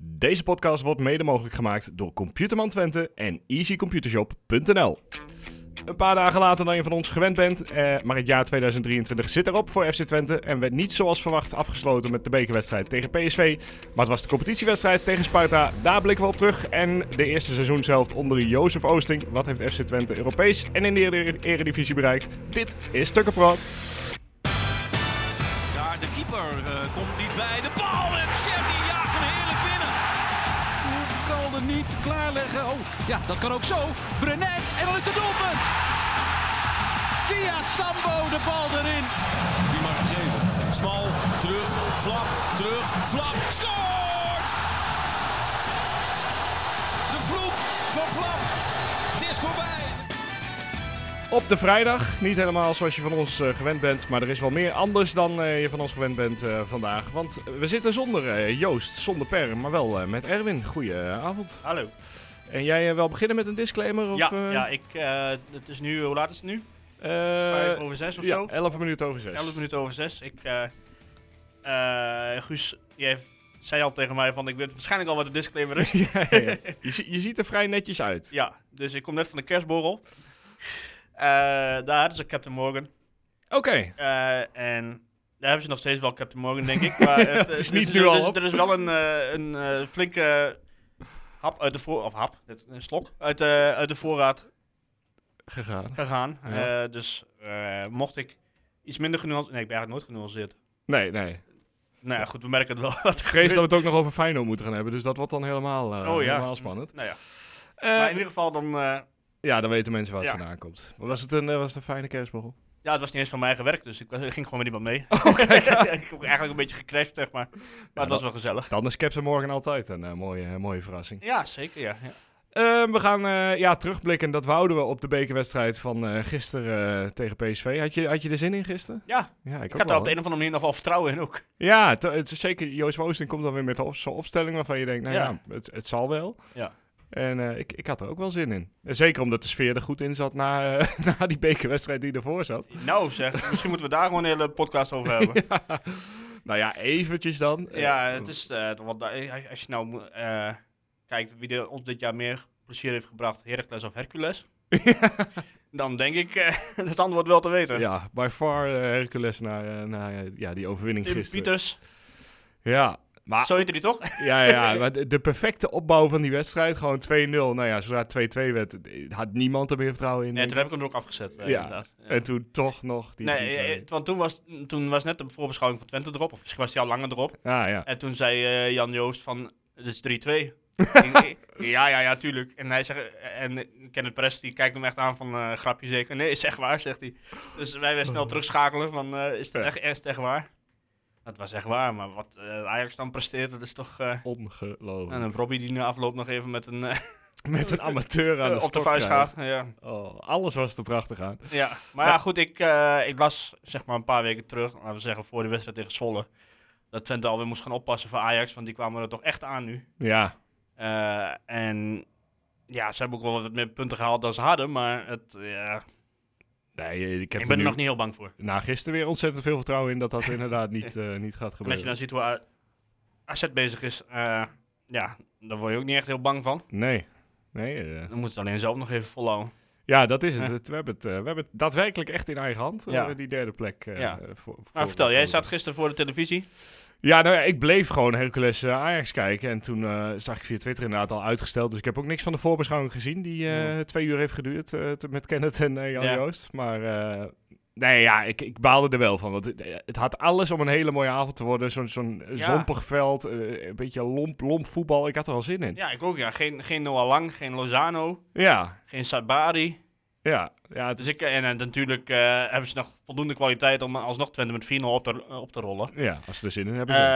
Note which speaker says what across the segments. Speaker 1: Deze podcast wordt mede mogelijk gemaakt door Computerman Twente en easycomputershop.nl. Een paar dagen later dan je van ons gewend bent, eh, maar het jaar 2023 zit erop voor FC Twente en werd niet zoals verwacht afgesloten met de bekerwedstrijd tegen PSV. Maar het was de competitiewedstrijd tegen Sparta, daar blikken we op terug. En de eerste seizoenshelft onder Jozef Oosting. Wat heeft FC Twente Europees en in de Ere- Eredivisie bereikt? Dit is Tukkenproot.
Speaker 2: Daar de keeper eh, komt niet bij. De bal en Chef die jaagt hem heerlijk binnen.
Speaker 3: kan er niet klaarleggen. Oh, ja, dat kan ook zo. Brenet en dan is het doelpunt. Via Sambo de bal erin.
Speaker 2: Die mag gegeven. Smal, terug, flap, terug, flap. Scoort! De vloek van flap. Het is voorbij.
Speaker 1: Op de vrijdag, niet helemaal zoals je van ons eh, gewend bent, maar er is wel meer anders dan eh, je van ons gewend bent eh, vandaag. Want we zitten zonder eh, Joost, zonder Per, maar wel eh, met Erwin. Goedenavond.
Speaker 4: Hallo.
Speaker 1: En jij eh, wel beginnen met een disclaimer? Of,
Speaker 4: ja,
Speaker 1: eh,
Speaker 4: ja, ik, eh, het is nu, hoe laat is het nu?
Speaker 1: eh,
Speaker 4: Vijf over zes of
Speaker 1: ja,
Speaker 4: zo?
Speaker 1: 11 minuten over 6.
Speaker 4: Elf minuten over zes. Ik, eh, eh, Guus, jij heeft- zei al tegen mij van, ik weet waarschijnlijk al wat de disclaimer is.
Speaker 1: ja, ja. Je, zie- je ziet er vrij netjes uit.
Speaker 4: ja, dus ik kom net van de kerstborrel. Eh, daar hadden ze Captain Morgan.
Speaker 1: Oké,
Speaker 4: Eh, en daar hebben ze nog steeds wel Captain Morgan, denk ik. Maar het,
Speaker 1: is
Speaker 4: eh,
Speaker 1: niet
Speaker 4: dus-
Speaker 1: nu
Speaker 4: dus-
Speaker 1: al
Speaker 4: dus
Speaker 1: op.
Speaker 4: Er is wel een, eh, een eh, flinke hap uit de voor... Of hap, het- een slok uit de, uit de voorraad
Speaker 1: gegaan.
Speaker 4: gegaan.
Speaker 1: Ja.
Speaker 4: Eh, dus eh, mocht ik iets minder genuanceerd... Nee, ik ben eigenlijk nooit genuanceerd.
Speaker 1: Nee, nee.
Speaker 4: Nou ja, goed, we merken het wel. Wat er
Speaker 1: Ik vrees dat we
Speaker 4: gebeurt.
Speaker 1: het ook nog over Feyenoord moeten gaan hebben, dus dat wordt dan helemaal, eh,
Speaker 4: Oh ja.
Speaker 1: helemaal spannend.
Speaker 4: Nou ja.
Speaker 1: Eh,
Speaker 4: Maar in ieder geval dan... eh,
Speaker 1: ja, dan weten mensen waar het
Speaker 4: Ja.
Speaker 1: vandaan komt. Maar was het een, eh, was het een fijne kerstborrel?
Speaker 4: ja, het was niet eens van mij gewerkt, dus ik, was- ik ging gewoon met iemand mee. ik heb eigenlijk een beetje gecrashed, zeg maar. Maar het
Speaker 1: dat-
Speaker 4: was wel gezellig.
Speaker 1: Dan is Captain Morgan altijd een eh, mooie, mooie verrassing.
Speaker 4: Ja, zeker, ja. ja.
Speaker 1: Ehm, we gaan eh, ja, terugblikken, dat houden we op de bekerwedstrijd van eh gisteren eh, tegen PSV. Had je, had je er zin in gisteren?
Speaker 4: Ja,
Speaker 1: Ja, ik,
Speaker 4: ik
Speaker 1: ook
Speaker 4: had daar
Speaker 1: wel,
Speaker 4: op de
Speaker 1: hoor.
Speaker 4: een of andere manier nog wel vertrouwen in ook.
Speaker 1: Ja, te- het, is zeker Joost Woosting komt dan weer met op- zo'n opstelling waarvan je denkt, nou ja,
Speaker 4: Ja.
Speaker 1: het, het zal wel.
Speaker 4: Ja.
Speaker 1: En eh, ik, ik had er ook wel zin in. En Zeker omdat de sfeer er goed in zat na, eh, na die bekerwedstrijd die ervoor zat.
Speaker 4: Nou zeg, misschien moeten we daar gewoon een hele podcast over hebben.
Speaker 1: Nou ja, eventjes dan. Eh,
Speaker 4: Ja, het is eh, toch wel du- als- als je nou moet, eh, kijkt wie er ons dit jaar meer plezier heeft gebracht, Heracles of Hercules, dan denk ik eh, het antwoord wel te weten.
Speaker 1: Ja, by far eh, Hercules na, eh, na eh, ja, die overwinning
Speaker 4: Tim
Speaker 1: gisteren. Ah.
Speaker 4: Pieters,
Speaker 1: Ja, maar
Speaker 4: zo heette die toch?
Speaker 1: Ja, ja, maar de, de perfecte opbouw van die wedstrijd. Gewoon 2-0. Nou ja, zodra het 2-2 werd, had niemand er meer vertrouwen in.
Speaker 4: Nee, toen
Speaker 1: denk
Speaker 4: heb ik hem er ook afgezet. eh,
Speaker 1: Ja.
Speaker 4: inderdaad.
Speaker 1: ik. En toen toch nog die
Speaker 4: Nee,
Speaker 1: 3-2.
Speaker 4: eh, want toen was, toen was net de voorbeschouwing van Twente erop, of misschien was die al langer erop.
Speaker 1: Ah, ja.
Speaker 4: En toen zei eh, Jan Joost van, het is 3-2. Ik denk, ja, ja, ja, tuurlijk. En hij zegt, eh, en Kenneth Press die kijkt hem echt aan van, eh, grapje zeker? Nee, is echt waar, zegt hij. Dus wij weer snel terugschakelen van, eh, is, het
Speaker 1: Ja.
Speaker 4: echt, is het echt waar? Dat was echt waar, maar wat eh, Ajax dan presteert, dat is toch... eh, en
Speaker 1: Ongelooflijk.
Speaker 4: een Robbie die na afloop nog even met een, eh,
Speaker 1: Met een amateur aan de
Speaker 4: op de
Speaker 1: stok
Speaker 4: vuist
Speaker 1: krijgen.
Speaker 4: gaat. Ja.
Speaker 1: Oh, alles was er prachtig aan.
Speaker 4: Ja, maar ja, goed, ik, eh, ik las zeg maar een paar weken terug, laten we zeggen voor de wedstrijd tegen Zwolle, dat Twente alweer moest gaan oppassen voor Ajax, want die kwamen er toch echt aan nu.
Speaker 1: Ja,
Speaker 4: Eh, en ja, ze hebben ook wel wat meer punten gehaald dan ze hadden, maar het, ja, ik,
Speaker 1: nee, ik heb
Speaker 4: ben er
Speaker 1: nu
Speaker 4: nog niet heel bang voor.
Speaker 1: na gisteren weer ontzettend veel vertrouwen in dat dat inderdaad niet, eh, niet gaat
Speaker 4: En als
Speaker 1: gebeuren.
Speaker 4: je dan ziet hoe A- AZ bezig is, eh, ja, daar word je ook niet echt heel bang van.
Speaker 1: Nee. Nee, eh,
Speaker 4: Dan moet het alleen zelf nog even volhouden.
Speaker 1: ja, dat is het. Het- We hebben het, eh, we hebben het daadwerkelijk echt in eigen hand. eh,
Speaker 4: Ja.
Speaker 1: die derde plek. eh,
Speaker 4: Ja.
Speaker 1: eh, voor,
Speaker 4: Maar vertel, jij zat gisteren voor de televisie.
Speaker 1: Ja, nou ja, ik bleef gewoon Hercules eh, Ajax kijken. En toen eh, zag ik via Twitter inderdaad al uitgesteld. Dus ik heb ook niks van de voorbeschouwing gezien. Die eh, twee uur heeft geduurd eh, te- met Kenneth en eh, Jan
Speaker 4: Ja.
Speaker 1: Joost. Maar eh, nee, ja, ik, ik baalde er wel van. Want het, eh, het had alles om een hele mooie avond te worden. Zo'n zo'n
Speaker 4: Ja.
Speaker 1: zompig veld, eh, een beetje lomp, lomp voetbal. Ik had er wel zin in. Ja,
Speaker 4: Ja, ik ook, ja. Geen, geen Noah Lang, geen Lozano,
Speaker 1: ja.
Speaker 4: geen Sabari.
Speaker 1: Ja, het-
Speaker 4: Dus ik, en, eh, natuurlijk eh, hebben ze nog voldoende kwaliteit om alsnog Twente met 4-0 op te, eh, op te rollen.
Speaker 1: ja, als ze er zin in hebben. zo.
Speaker 4: Eh,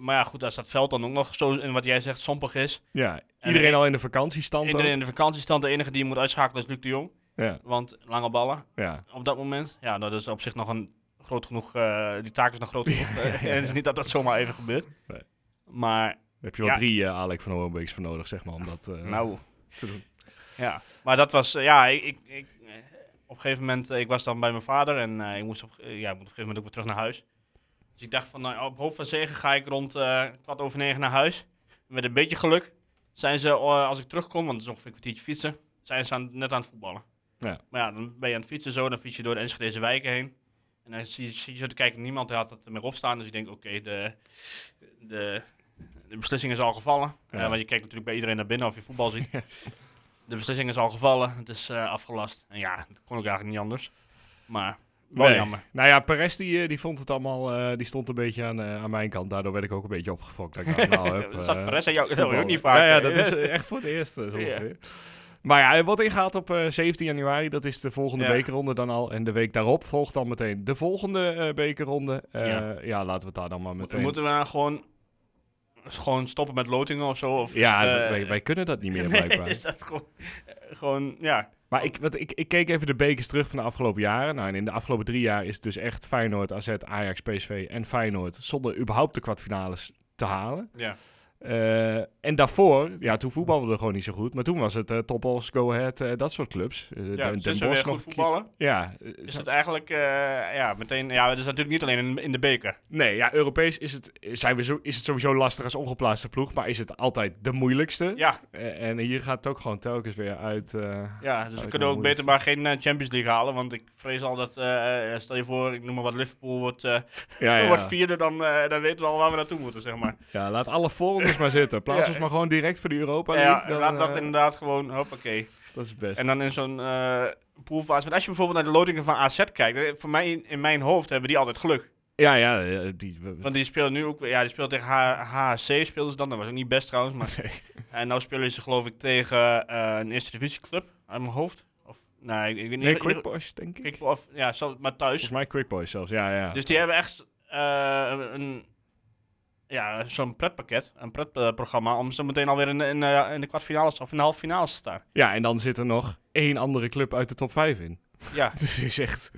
Speaker 4: maar ja, goed, als dat veld dan ook nog zo, en wat jij zegt, sompig is.
Speaker 1: ja,
Speaker 4: en-
Speaker 1: iedereen al in de vakantiestand. ook.
Speaker 4: Iedereen in de vakantiestand, de enige die je moet uitschakelen is Luc de Jong.
Speaker 1: Ja,
Speaker 4: Want lange ballen
Speaker 1: ja.
Speaker 4: op dat moment. Ja, nou, dat is op zich nog een groot genoeg, eh, die taak is nog groot genoeg. eh, en het is niet dat dat zomaar even gebeurt.
Speaker 1: Nee.
Speaker 4: Maar,
Speaker 1: Daar heb je wel
Speaker 4: Ja.
Speaker 1: drie eh, Alec van Hoornbeeks voor nodig, zeg maar, om dat eh,
Speaker 4: nou,
Speaker 1: te doen.
Speaker 4: ja. Maar dat was, eh, ja, ik... ik, ik, eh, op een gegeven moment, eh, ik was dan bij mijn vader en eh, ik moest op, eh, ja, ik moet op een gegeven moment ook weer terug naar huis. Dus ik dacht van, nou, op hoop van zegen ga ik rond eh kwart over negen naar huis. Met een beetje geluk zijn ze, eh, als ik terugkom, want het is ongeveer een kwartiertje fietsen, zijn ze aan, net aan het voetballen.
Speaker 1: Ja.
Speaker 4: Maar ja, dan ben je aan het fietsen zo, dan fiets je door de Enschedeze wijken heen. En dan zie je, zie je zo te kijken, niemand had het er meer op staan. Dus ik denk, oké, de, de, de beslissing is al gevallen.
Speaker 1: Ja.
Speaker 4: Eh, want je kijkt natuurlijk bij iedereen naar binnen of je voetbal ziet. De beslissing is al gevallen, het is eh, afgelast. En ja, dat kon ook eigenlijk niet anders. Maar wel
Speaker 1: Nee.
Speaker 4: jammer.
Speaker 1: Nou ja, Perez die, eh, die vond het allemaal, eh, die stond een beetje aan, eh, aan mijn kant. Daardoor werd ik ook een beetje opgefokt. Dat ik dacht, nou, hup,
Speaker 4: Dat zat
Speaker 1: eh,
Speaker 4: Perez aan jou- dat hoor je ook
Speaker 1: voetballen.
Speaker 4: niet vaak,
Speaker 1: Ja, ja,
Speaker 4: hè?
Speaker 1: dat is eh, echt voor het eerst eh, zo
Speaker 4: Ja.
Speaker 1: ongeveer. Maar ja, hij wordt ingehaald op eh, 17 januari. Dat is de volgende
Speaker 4: Ja.
Speaker 1: bekerronde dan al. En de week daarop volgt dan meteen de volgende eh, bekerronde. Eh, ja.
Speaker 4: Ja.
Speaker 1: laten we het daar dan maar meteen...
Speaker 4: Moeten we dan gewoon, gewoon stoppen met lotingen of zo? Of,
Speaker 1: Ja,
Speaker 4: eh,
Speaker 1: wij, wij kunnen dat niet meer
Speaker 4: nee,
Speaker 1: blijkbaar.
Speaker 4: is dat gewoon, eh, gewoon ja.
Speaker 1: Maar ik, want ik, ik keek even de bekers terug van de afgelopen jaren. Nou, en in de afgelopen drie jaar is het dus echt Feyenoord, AZ, Ajax, PSV en Feyenoord... zonder überhaupt de kwartfinales te halen.
Speaker 4: ja.
Speaker 1: Eh, en daarvoor, ja, toen voetbalden we er gewoon niet zo goed. Maar toen was het eh Topos, Go Ahead, eh, dat soort clubs. Eh, Den-
Speaker 4: ja
Speaker 1: Den
Speaker 4: sinds we
Speaker 1: Bosch
Speaker 4: weer goed
Speaker 1: nog een keer-
Speaker 4: voetballen,
Speaker 1: Ja, eh,
Speaker 4: is
Speaker 1: zo-
Speaker 4: het eigenlijk eh, ja, meteen... Ja, het is natuurlijk niet alleen in, in de beker.
Speaker 1: nee, ja, Europees is het, zijn we zo, is het sowieso lastig als ongeplaatste ploeg. Maar is het altijd de moeilijkste.
Speaker 4: Ja,
Speaker 1: Eh, en hier gaat het ook gewoon telkens weer uit. eh,
Speaker 4: ja dus
Speaker 1: Oh,
Speaker 4: we
Speaker 1: ik
Speaker 4: kunnen
Speaker 1: moet
Speaker 4: ook
Speaker 1: het-
Speaker 4: beter maar geen eh, Champions League halen. Want ik vrees al dat... eh, eh, stel je voor, ik noem maar wat, Liverpool wordt, eh,
Speaker 1: ja,
Speaker 4: wordt
Speaker 1: ja.
Speaker 4: vierde. Dan, eh, dan weten we al waar we naartoe moeten, zeg maar.
Speaker 1: ja, laat alle voorrondes maar zitten. Plaats
Speaker 4: Ja.
Speaker 1: ons maar gewoon direct voor de Europa
Speaker 4: Ja,
Speaker 1: League. dan,
Speaker 4: laat dat
Speaker 1: eh,
Speaker 4: inderdaad gewoon... Hoppakee.
Speaker 1: dat is het best.
Speaker 4: En dan in zo'n eh proeffase. Want als je bijvoorbeeld naar de lotingen van AZ kijkt, eh, voor mij in, in mijn hoofd hebben die altijd geluk.
Speaker 1: Ja, ja, eh, die... we-
Speaker 4: Want die spelen nu ook, ja, die speelt tegen H- HHC speelden ze dan. Dat was ook niet best trouwens, maar.
Speaker 1: Nee.
Speaker 4: En nou spelen ze geloof ik tegen eh, een eerste divisieclub uit mijn hoofd. Of, nee, ik, ik weet niet.
Speaker 1: Nee,
Speaker 4: in-
Speaker 1: Quick Boys, denk ik.
Speaker 4: Quick- of, ja, zelfs maar thuis.
Speaker 1: Volgens mij Quick Boys zelfs, ja, ja.
Speaker 4: Dus die hebben echt eh, een, ja, zo'n pretpakket, een pretprogramma, om zo meteen alweer in, in, eh, in de kwartfinales of in de halve finales te staan.
Speaker 1: Ja, en dan zit er nog één andere club uit de top 5 in.
Speaker 4: Ja.
Speaker 1: Het is echt...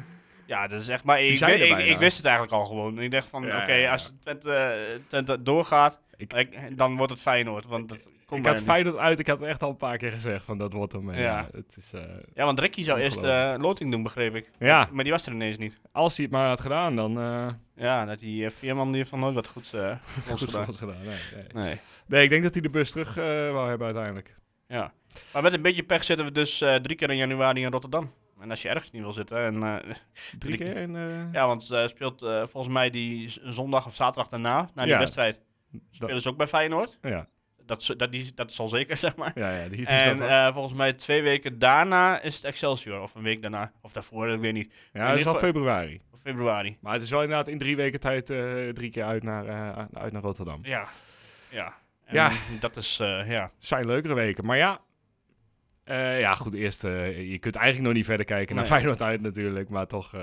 Speaker 4: Ja, dat is echt. Maar ik,
Speaker 1: zijn
Speaker 4: wi-
Speaker 1: er
Speaker 4: ik,
Speaker 1: bijna.
Speaker 4: ik wist het eigenlijk al gewoon. Ik dacht van,
Speaker 1: Ja,
Speaker 4: oké,
Speaker 1: ja, ja.
Speaker 4: als Twente, eh, Twente doorgaat,
Speaker 1: Ik-
Speaker 4: ik- dan wordt het Feyenoord. Want dat komt
Speaker 1: ik
Speaker 4: bijna
Speaker 1: had
Speaker 4: niet.
Speaker 1: Feyenoord uit, ik had het echt al een paar keer gezegd van dat wordt hem. En,
Speaker 4: Ja.
Speaker 1: ja. het is, eh,
Speaker 4: Ja, want Ricky zou eerst
Speaker 1: Ongelooflijk.
Speaker 4: eh, loting doen, begreep ik.
Speaker 1: Ja.
Speaker 4: Maar die was er ineens niet.
Speaker 1: als hij het maar had gedaan, dan eh
Speaker 4: Ja, dat die eh, Veerman die heeft nog nooit wat goeds eh voor ons
Speaker 1: goed
Speaker 4: gedaan.
Speaker 1: was gedaan. Nee, nee.
Speaker 4: Nee,
Speaker 1: Nee, ik denk dat hij de bus terug eh, wou hebben uiteindelijk.
Speaker 4: ja. Maar met een beetje pech zitten we dus eh, drie keer in januari in Rotterdam. En als je ergens niet wil zitten. En, eh,
Speaker 1: Drie
Speaker 4: Drie
Speaker 1: keer en... eh,
Speaker 4: ja, want eh, speelt eh, volgens mij die z- zondag of zaterdag daarna, na die
Speaker 1: Ja.
Speaker 4: wedstrijd, spelen ze ook bij Feyenoord.
Speaker 1: ja,
Speaker 4: Dat, z- dat, die, dat is al zeker, zeg maar.
Speaker 1: ja, ja, die, die staat
Speaker 4: En
Speaker 1: wel-
Speaker 4: eh, volgens mij twee weken daarna is het Excelsior. Of een week daarna. Of daarvoor, ik weet niet.
Speaker 1: ja, dat is al
Speaker 4: ieder geval-
Speaker 1: februari.
Speaker 4: Of februari.
Speaker 1: Maar het is wel inderdaad in drie weken tijd eh, drie keer uit naar, eh, uit naar Rotterdam.
Speaker 4: Ja. Ja. En
Speaker 1: Ja.
Speaker 4: Dat is, eh, ja.
Speaker 1: zijn leukere weken. Maar ja, eh, ja goed, eerst, eh, je kunt eigenlijk nog niet verder kijken naar
Speaker 4: Nee.
Speaker 1: Feyenoord uit natuurlijk. Maar toch, eh,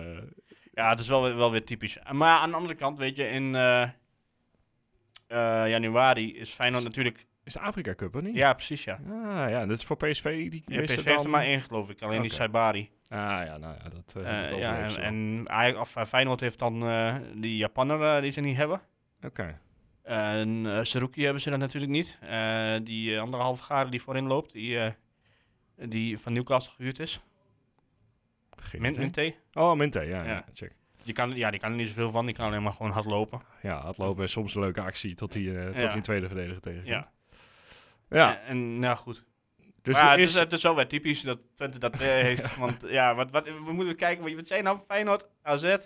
Speaker 4: Ja, het is wel, weer- wel weer typisch. Maar aan de andere kant, weet je, in eh, eh, januari is Feyenoord natuurlijk...
Speaker 1: is de Afrika Cup er niet?
Speaker 4: Ja, precies, ja.
Speaker 1: Ah, ja, dat Hm. is voor PSV. Die
Speaker 4: ja
Speaker 1: missen
Speaker 4: PSV
Speaker 1: dan...
Speaker 4: heeft er maar één, geloof ik. Alleen die
Speaker 1: Oké.
Speaker 4: Saibari.
Speaker 1: Ah ja, nou ja, dat, eh
Speaker 4: Eh,
Speaker 1: dat
Speaker 4: ja,
Speaker 1: overleeft
Speaker 4: en
Speaker 1: ze wel.
Speaker 4: en Ajax- of, eh, Feyenoord heeft dan eh, die Japaner eh, die ze niet hebben.
Speaker 1: Oké.
Speaker 4: En eh Saruki hebben ze dat natuurlijk niet. Eh, die eh, andere halve garen die voorin loopt, die, eh, die van Newcastle gehuurd is.
Speaker 1: Geen
Speaker 4: Min
Speaker 1: idee.
Speaker 4: Minte.
Speaker 1: Oh, Minte, ja, ja.
Speaker 4: Ja.
Speaker 1: check.
Speaker 4: Die kan, ja, die kan er niet zoveel van, die kan alleen maar gewoon hard lopen.
Speaker 1: Ja, had lopen is soms een leuke actie tot die, eh, tot
Speaker 4: Ja.
Speaker 1: die tweede verdediger tegen.
Speaker 4: Ja.
Speaker 1: ja.
Speaker 4: En, en nou goed.
Speaker 1: Dus
Speaker 4: maar ja,
Speaker 1: er
Speaker 4: het,
Speaker 1: is,
Speaker 4: is, het is wel weer typisch dat Twente dat eh, heeft. Want ja, wat, wat, we moeten kijken, wat, wat zijn nou Feyenoord, AZ.
Speaker 1: Ajax,